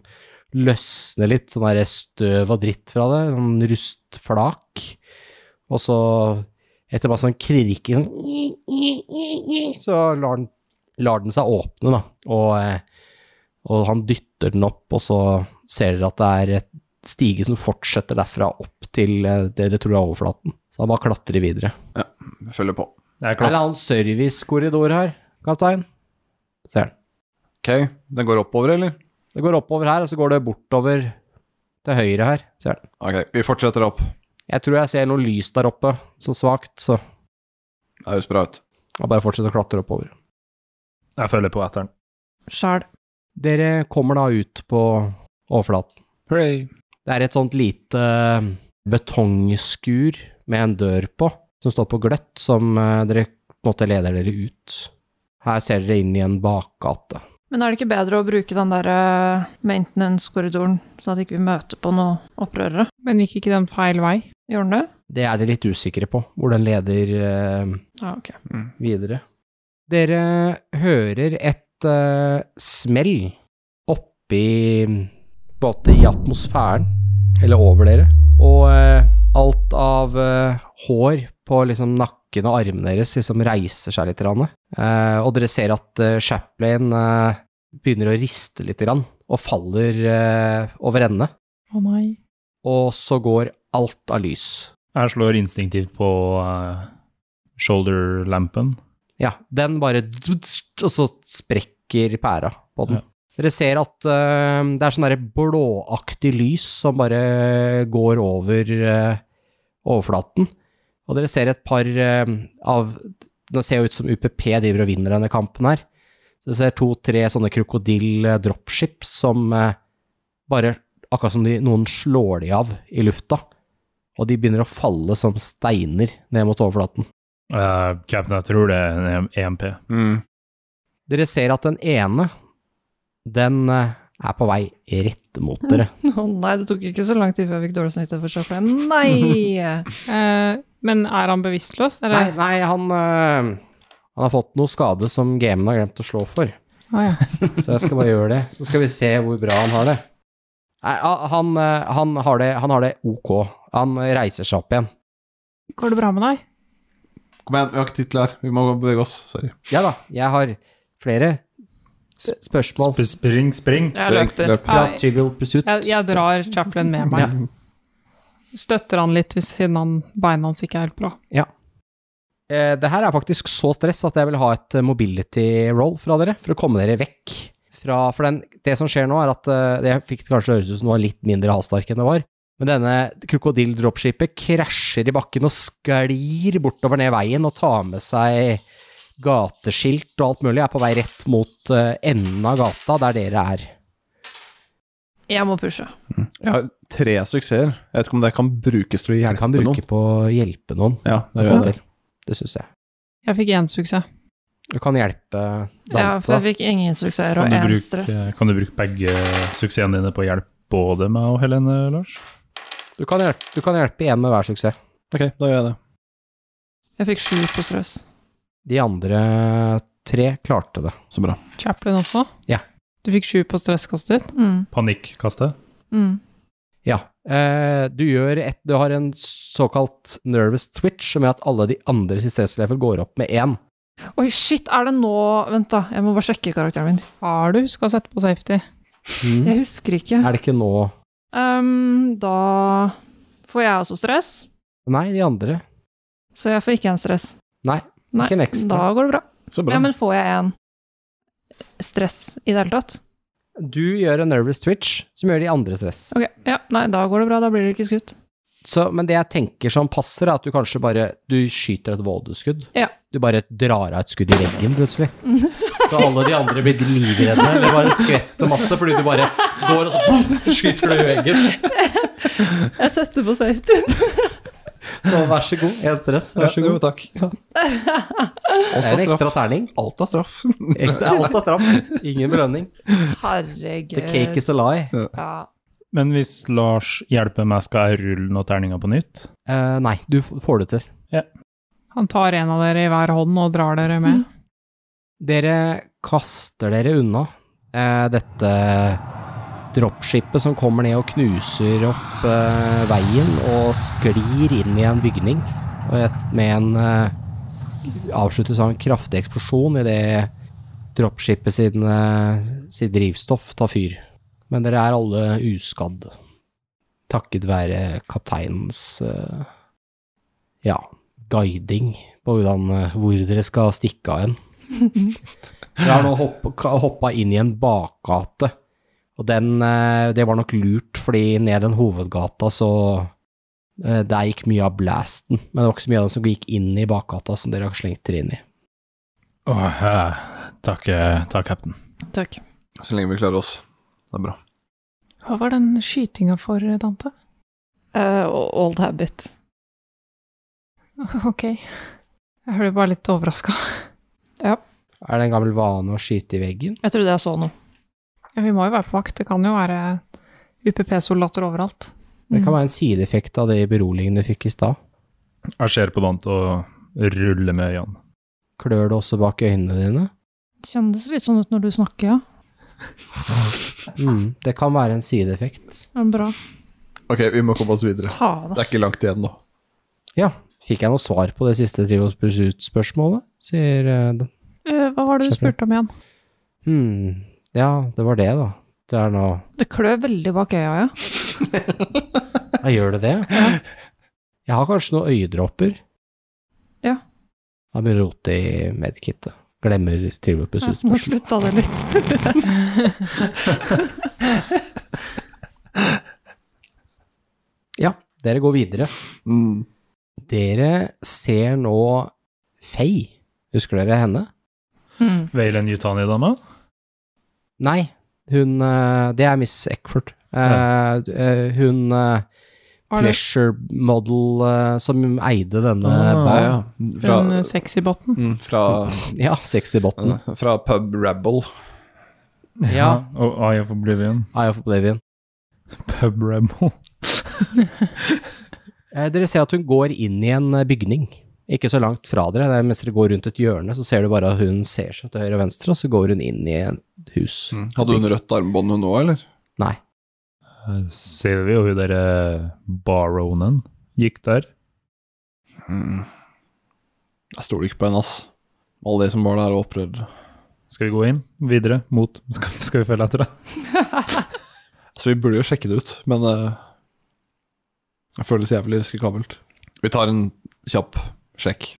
Speaker 2: løsne litt, sånn der støv og dritt fra det, sånn rustflak. Og så, etter bare sånn knirking, sånn, så lar den, lar den seg åpne, da. Og, eh, og han dytter den opp, og så ser dere at det er et stige som fortsetter derfra opp til eh, det dere tror er overflaten. Så han bare klatrer videre.
Speaker 3: Vi følger på.
Speaker 5: Jeg er
Speaker 2: Er det en
Speaker 5: klar.
Speaker 2: annen servicekorridor her, kaptein? Ser han.
Speaker 3: Ok, den går oppover, eller?
Speaker 2: Det går oppover her, og så går det bortover til høyre her, ser han.
Speaker 3: Ok, vi fortsetter opp.
Speaker 2: Jeg tror jeg ser noe lys der oppe, så svakt, så
Speaker 3: Det høres bra ut.
Speaker 2: jeg bare fortsetter å klatre oppover.
Speaker 5: Jeg følger på etter den.
Speaker 8: Sjæl.
Speaker 2: Dere kommer da ut på overflaten.
Speaker 3: Hooray.
Speaker 2: Det er et sånt lite eh, betongskur med en dør på, som står på gløtt, som eh, dere på en måte leder dere ut. Her ser dere inn i en bakgate.
Speaker 8: Men er det ikke bedre å bruke den der eh, maintenance-korridoren, sånn at ikke vi møter på noen opprørere?
Speaker 1: Men gikk ikke den feil vei?
Speaker 8: Gjør den det?
Speaker 2: Det er dere litt usikre på, hvor den leder eh,
Speaker 8: Ja, ok.
Speaker 2: videre. Dere hører et eh, smell oppi på en måte i atmosfæren, eller over dere, og eh, alt av eh, hår på liksom nakken og armene deres liksom reiser seg litt, grann. Eh, og dere ser at eh, Chaplin eh, begynner å riste litt grann, og faller eh, over ende,
Speaker 1: Å nei.
Speaker 2: og så går alt av lys.
Speaker 5: Jeg slår instinktivt på eh, shoulder-lampen.
Speaker 2: Ja, den bare Og så sprekker pæra på den.
Speaker 5: Ja.
Speaker 2: Dere ser at eh, det er sånn derre blåaktig lys som bare går over eh, overflaten. Og dere ser et par eh, av Det ser jo ut som UPP driver og vinner denne kampen her. Så dere ser to-tre sånne krokodill-dropships som eh, bare Akkurat som de, noen slår de av i lufta. Og de begynner å falle som steiner ned mot overflaten.
Speaker 5: Eh, Captain, jeg tror det er en E EMP.
Speaker 3: Mm.
Speaker 2: Dere ser at den ene, den eh, er på vei rett mot dere.
Speaker 1: Eh,
Speaker 8: Å nei, det tok ikke så lang tid før jeg fikk dårlig samvittighet for Chaplin. Nei!
Speaker 1: Eh, men er han bevisstløs?
Speaker 2: Nei,
Speaker 1: Eller?
Speaker 2: nei, han eh, Han har fått noe skade som gamen har glemt å slå for.
Speaker 1: Å ja.
Speaker 2: Så jeg skal bare gjøre det. Så skal vi se hvor bra han har det. Nei, a- han, eh, han, har det, han har det ok. Han reiser seg opp igjen.
Speaker 1: Går det bra med deg?
Speaker 3: Kom igjen, vi har ikke tid til det her. Vi må bevege oss. Sorry.
Speaker 2: Ja da, jeg har flere s- spørsmål
Speaker 5: Sp spring, spring.
Speaker 1: Jeg
Speaker 3: Løp,
Speaker 1: løper.
Speaker 3: løp.
Speaker 2: fra
Speaker 1: Nei,
Speaker 2: Trivial Pursuit.
Speaker 1: Jeg, jeg drar Chaplin med meg.
Speaker 2: Ja.
Speaker 1: Støtter han litt hvis siden han, beina hans ikke er helt bra.
Speaker 2: Eh, Det her er faktisk så stress at jeg vil ha et eh, mobility roll fra dere, for å komme dere vekk fra For den, det som skjer nå, er at eh, Det fikk kanskje høres ut som noe litt mindre hastark enn det var, men denne krokodilldropskipet krasjer i bakken og sklir bortover ned veien og tar med seg gateskilt og alt mulig. Er på vei rett mot eh, enden av gata, der dere er.
Speaker 8: Jeg må pushe.
Speaker 3: Jeg har tre suksesser. Jeg vet ikke om det kan brukes til å
Speaker 2: Gjerne
Speaker 3: hjelpe
Speaker 2: kan bruke
Speaker 3: noen.
Speaker 2: på å hjelpe noen.
Speaker 3: Ja,
Speaker 2: Det,
Speaker 3: det gjør jeg.
Speaker 2: det. det syns jeg.
Speaker 1: Jeg fikk én suksess.
Speaker 2: Du kan hjelpe
Speaker 8: Ja,
Speaker 2: Dante.
Speaker 8: for
Speaker 2: da.
Speaker 8: jeg fikk ingen suksesser
Speaker 5: Kan
Speaker 8: og
Speaker 5: du,
Speaker 8: én stress.
Speaker 2: eh,
Speaker 5: bruke, kan du bruke begge suksessene dine på å hjelpe både meg og Helene, Lars?
Speaker 2: Du kan hjelpe, du kan hjelpe én med hver suksess.
Speaker 3: Ok, da gjør jeg det.
Speaker 1: Jeg fikk sju på stress.
Speaker 2: De andre tre klarte det.
Speaker 3: Så bra.
Speaker 1: Chaplin også?
Speaker 2: Ja.
Speaker 1: Du fikk sju på stresskastet ditt?
Speaker 8: Mm.
Speaker 5: Panikkkaste?
Speaker 8: Mm.
Speaker 2: Ja. Eh, du gjør et Du har en såkalt nervous twitch, som gjør at alle de andre i stresslevel går opp med én.
Speaker 8: Oi, shit, er det nå Vent, da. Jeg må bare sjekke karakteren min.
Speaker 1: Har du huska å sette på safety?
Speaker 8: Jeg husker ikke.
Speaker 2: Mm. Er det ikke nå
Speaker 8: Ehm, da får jeg også stress,
Speaker 2: Nei, de andre.
Speaker 8: så jeg får ikke en stress.
Speaker 2: Nei.
Speaker 8: Nei,
Speaker 2: ikke en ekstra.
Speaker 8: Da går det bra.
Speaker 3: Så bra.
Speaker 8: Ja, men får jeg en stress i det hele tatt?
Speaker 2: Du gjør en nervous twitch som gjør de andre stress.
Speaker 8: Ok, ja, nei, da går det bra. Da blir dere ikke skutt.
Speaker 2: Så, men det jeg tenker som passer, er at du kanskje bare Du skyter et vådeskudd.
Speaker 8: Ja.
Speaker 2: Du bare drar av et skudd i veggen plutselig. Så alle de andre blir livredde. Eller bare skvetter masse fordi du bare går og så boom, skyter du i veggen.
Speaker 8: Jeg setter på safety.
Speaker 2: Så vær så god. Én stress,
Speaker 3: Vær så god, takk.
Speaker 2: Det er en ekstra terning.
Speaker 3: Alt er straff.
Speaker 2: Ekstra, alt er straff. Ingen belønning.
Speaker 8: Herregud.
Speaker 2: The cake is a lie.
Speaker 8: ja.
Speaker 5: Men hvis Lars hjelper meg, skal jeg rulle noen terninger på nytt?
Speaker 2: Eh, nei, du f- får det til.
Speaker 1: Han tar en av dere i hver hånd og drar dere med.
Speaker 8: Mm.
Speaker 2: Dere kaster dere unna eh, dette dropshipet som kommer ned og knuser opp eh, veien og sklir inn i en bygning og et- med en eh, avsluttes av en kraftig eksplosjon idet dropshipet sin, eh, sitt drivstoff tar fyr. Men dere er alle uskadd, takket være kapteinens eh, ja, guiding på hvordan, eh, hvor dere skal stikke av hen. Jeg har nå hoppa inn i en bakgate, og den, eh, det var nok lurt, fordi ned den hovedgata så eh, Der gikk mye av blasten, men det var ikke så mye av den som gikk inn i bakgata som dere har slengt dere inn i.
Speaker 5: Åh, eh, takk, eh, takk, cap'n.
Speaker 1: Takk.
Speaker 3: Så lenge vi klarer oss. Det er bra.
Speaker 1: Hva var den skytinga for, Dante?
Speaker 8: Eh, old habit.
Speaker 1: Ok. Jeg ble bare litt overraska.
Speaker 2: Er det en gammel vane å skyte i veggen?
Speaker 8: Jeg trodde jeg så noe.
Speaker 1: Ja, vi må jo være på vakt. Det kan jo være UPP-soldater overalt.
Speaker 2: Det kan være en sideeffekt av de beroligende du fikk i stad.
Speaker 5: Jeg ser på Dante og ruller med øynene.
Speaker 2: Klør det også bak øynene dine?
Speaker 8: Kjennes litt sånn ut når du snakker, ja.
Speaker 2: Mm, det kan være en sideeffekt.
Speaker 8: Ja, Bra.
Speaker 3: Ok, vi må komme oss videre.
Speaker 8: Ha
Speaker 3: Det er ikke langt igjen nå.
Speaker 2: Ja, fikk jeg noe svar på det siste Trivos Pursuit-spørsmålet? Sier eh, den.
Speaker 1: Øh, hva var det du
Speaker 2: Chaplin.
Speaker 1: spurte om igjen?
Speaker 2: Hm, ja, det var det, da. Det er nå
Speaker 8: Det klør veldig bak øya, ja.
Speaker 2: Ja, gjør det det? Jeg har kanskje noen øyedråper.
Speaker 8: Ja.
Speaker 2: Jeg begynner å rote i medkittet. Glemmer Trivopus
Speaker 8: Ja, Nå
Speaker 2: utspørsmål.
Speaker 8: slutta det litt.
Speaker 2: Ja, dere går videre.
Speaker 3: Mm.
Speaker 2: Dere ser nå Faye. Husker dere henne?
Speaker 8: Mm.
Speaker 5: Veilen Yutani-dama?
Speaker 2: Nei, hun eh, Det er Miss Eckford. Eh, eh, Hun eh,
Speaker 1: Var det
Speaker 2: pleasure model eh, som eide denne
Speaker 5: Ah,
Speaker 3: Ja,
Speaker 2: baren.
Speaker 3: ja. Fra,
Speaker 8: eh,
Speaker 1: den sexy-botten?
Speaker 3: mm, fra, eh,
Speaker 2: Ja, sexybotten.
Speaker 3: fra pub Rabble.
Speaker 2: Ja.
Speaker 5: Og Eye of Oblivion.
Speaker 2: Eye of Oblivion.
Speaker 5: Pub Rebel.
Speaker 2: Eh, Dere ser at hun går inn i en eh, bygning. Ikke så langt fra dere. Det er mens dere går rundt et hjørne, så ser du bare at hun ser seg til høyre og
Speaker 3: Mm.
Speaker 2: venstre, og så går hun inn i et hus.
Speaker 3: Hadde hun rødt armbånd hun nå, eller?
Speaker 2: Nei.
Speaker 5: Eh, Ser vi jo hun derre Baronen gikk der.
Speaker 3: Mm. Jeg stoler ikke på henne, ass. Alle de som var der og opprørte.
Speaker 5: Skal vi gå inn videre mot Skal, skal vi følge etter, da?
Speaker 3: Så vi burde jo sjekke det ut, men eh, jeg føler det føles jævlig risikabelt. Vi tar en kjapp sjekk.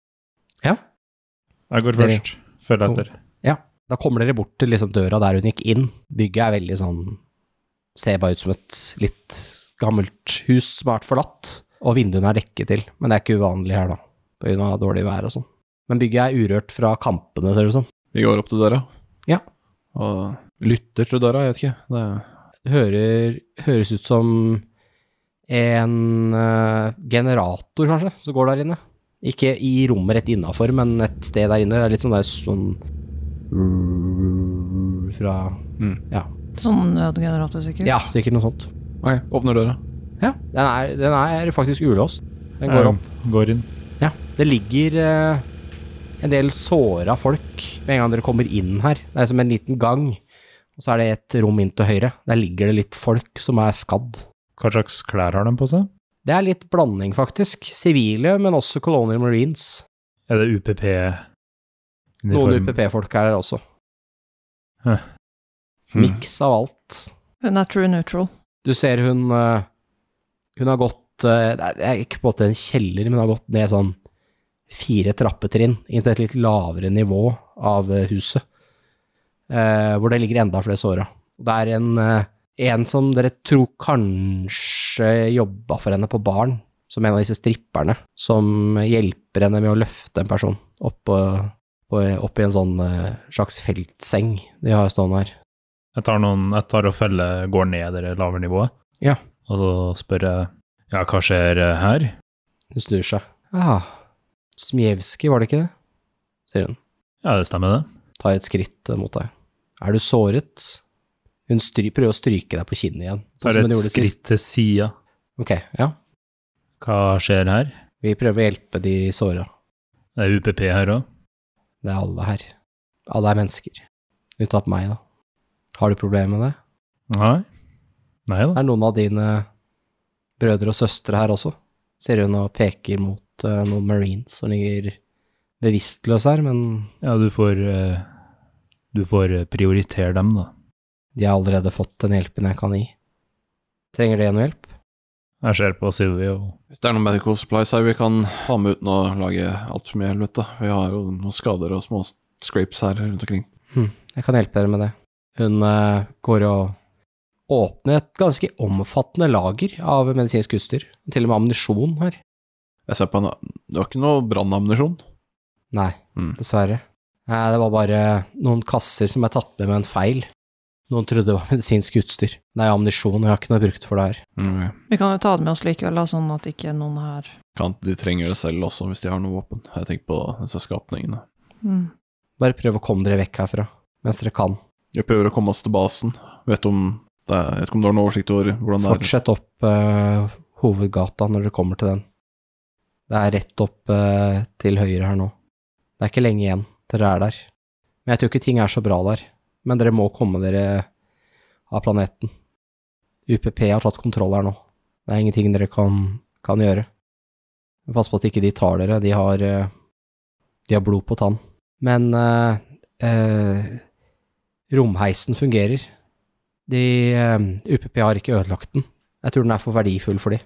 Speaker 5: Jeg går
Speaker 2: Dere.
Speaker 5: først. Følg
Speaker 2: Kom.
Speaker 5: etter.
Speaker 2: Da kommer dere bort til liksom døra der hun gikk inn. Bygget er veldig sånn Ser bare ut som et litt gammelt hus som har vært forlatt. Og vinduene er dekket til, men det er ikke uvanlig her, da. På grunn av dårlig vær og sånn. Men bygget er urørt fra kampene, ser det ut som.
Speaker 3: Vi går opp til døra.
Speaker 2: Ja.
Speaker 3: Og lytter til døra, jeg vet ikke. Det
Speaker 2: Det hører, høres ut som en eh, generator, kanskje, som går der inne. Ikke i rommet rett innafor, men et sted der inne. Det er litt sånn der sånn Fra Ja.
Speaker 8: Sånn nødgenerator, sikkert.
Speaker 2: Ja, sikkert noe sånt.
Speaker 3: Ok, åpner døra.
Speaker 2: Ja, den er, den er faktisk ulåst. Den går
Speaker 5: Eh,
Speaker 2: opp.
Speaker 5: Går inn.
Speaker 2: Ja, det ligger eh, en del såra folk med en gang dere kommer inn her. Det er som en liten gang, og så er det et rom inn til høyre. Der ligger det litt folk som er skadd.
Speaker 5: Hva slags klær har de på seg?
Speaker 2: Det er litt blanding, faktisk. Sivile, men også Colonial Marines.
Speaker 5: Er det UPP?
Speaker 2: Noen
Speaker 5: uniform?
Speaker 2: UPP-folk er her også.
Speaker 5: Hæ. Hmm. Mm.
Speaker 2: Miks av alt.
Speaker 8: Hun er true neutral.
Speaker 2: Du ser hun eh, Hun har gått eh, Det er- det er ikke på en måte en kjeller, men hun har gått ned sånn fire trappetrinn inn til et litt lavere nivå av eh, huset. eh, Hvor det ligger enda flere såra. Det er en, eh, en som dere tror kanskje jobba for henne på baren, som en av disse stripperne, som hjelper henne med å løfte en person opp, på- på- opp i en sånn eh, slags feltseng de har stående her.
Speaker 5: Jeg tar, noen, jeg tar og følger, går ned det lavere nivået.
Speaker 2: Ja.
Speaker 5: Og så spør jeg ja, hva skjer eh, her?
Speaker 2: Hun snur seg. Ah, Smjevskij, var det ikke det? sier hun.
Speaker 5: Ja, det stemmer, det.
Speaker 2: Tar et skritt eh, mot deg. Er du såret? Hun stry, prøver å stryke deg på kinnet igjen. sånn
Speaker 5: Tar
Speaker 2: som hun
Speaker 5: et
Speaker 2: gjorde sist.
Speaker 5: skritt til sida.
Speaker 2: Ok, ja.
Speaker 5: Hva skjer her?
Speaker 2: Vi prøver å hjelpe de såra.
Speaker 5: Det er UPP her òg.
Speaker 2: Det er alle her. Alle er mennesker. Unntatt meg, da. Har du problemer med det?
Speaker 5: Nei. Nei da.
Speaker 2: Er noen av dine brødre og søstre her også? Ser hun og peker mot eh, noen marines som ligger bevisstløse her, men
Speaker 5: Ja, du får eh, Du får eh, prioritere dem, da.
Speaker 2: de har allerede fått den hjelpen jeg kan gi. Trenger de noe hjelp?
Speaker 5: Jeg ser på Sylvi og
Speaker 3: Hvis det er noen medical supplies her vi kan ha med uten å lage altfor mye helvete. Vi har jo noen skader og små scrapes her rundt omkring.
Speaker 2: Jeg kan hjelpe dere med det. Hun eh, går og åpner et ganske omfattende lager av medisinsk utstyr. Til og med ammunisjon her.
Speaker 3: Jeg ser på henne. Du har ikke noe brannammunisjon?
Speaker 2: Nei,
Speaker 3: Mm.
Speaker 2: dessverre. Eh, det var bare noen kasser som er tatt med med en feil. Noen trodde det var medisinsk utstyr. Det er ammunisjon, jeg har ikke noe brukt for det her.
Speaker 3: Ok.
Speaker 8: Vi kan jo ta det med oss likevel, da, sånn at ikke noen her
Speaker 3: Kan de trenger det selv også, hvis de har noe våpen. Jeg tenker på disse skapningene.
Speaker 8: mm.
Speaker 2: Bare prøv å komme dere vekk herfra, mens dere kan.
Speaker 3: Vi prøver å komme oss til basen. Vet om det er, jeg vet ikke om du har noen oversikt over hvordan det er.
Speaker 2: Fortsett opp eh, hovedgata når dere kommer til den. Det er rett opp eh, til høyre her nå. Det er ikke lenge igjen til dere er der. Men jeg tror ikke ting er så bra der. Men dere må komme dere av planeten. UPP har tatt kontroll her nå. Det er ingenting dere kan, kan gjøre. Men Pass på at ikke de tar dere. De har, eh, de har blod på tann. Men eh, eh, romheisen fungerer. De eh, UPP har ikke ødelagt den. Jeg tror den er for verdifull for de.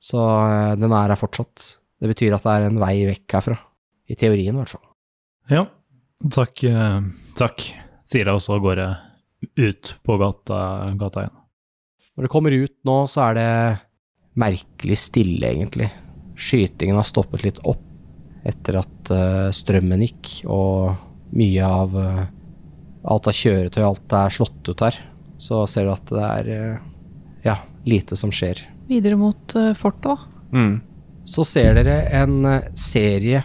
Speaker 2: Så eh, den er her fortsatt. Det betyr at det er en vei vekk herfra. I teorien, i hvert fall.
Speaker 5: Ja, takk. eh, Takk, sier jeg, og så går jeg ut på gata, gata igjen.
Speaker 2: Når det kommer ut nå, så er det merkelig stille, egentlig. Skytingen har stoppet litt opp etter at eh, strømmen gikk, og mye av eh, alt av kjøretøy og alt er slått ut her. Så ser du at det er eh, ja, lite som skjer.
Speaker 1: Videre mot eh, fortet, da.
Speaker 2: så ser dere en eh, serie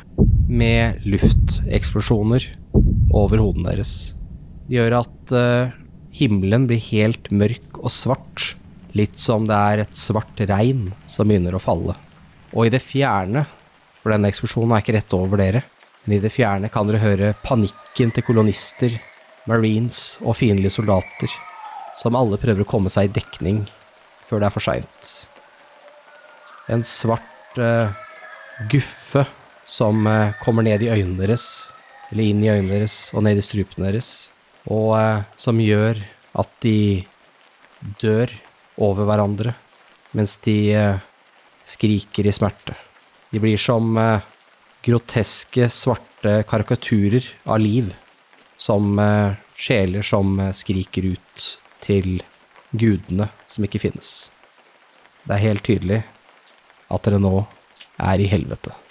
Speaker 2: med lufteksplosjoner over hodene deres. Det gjør at eh, himmelen blir helt mørk og svart, litt som det er et svart regn som begynner å falle. Og i det fjerne, for denne eksplosjonen er ikke rett over dere, men i det fjerne kan dere høre panikken til kolonister, marines og fiendtlige soldater, som alle prøver å komme seg i dekning før det er for seint. En svart eh, guffe som eh, kommer ned i øynene deres, eller inn i øynene deres og ned i strupen deres, og eh, som gjør at de dør over hverandre mens de eh, skriker i smerte. De blir som eh, groteske, svarte karikaturer av liv som eh, sjeler som eh, skriker ut til gudene som ikke finnes. Det er helt tydelig at dere nå er i helvete.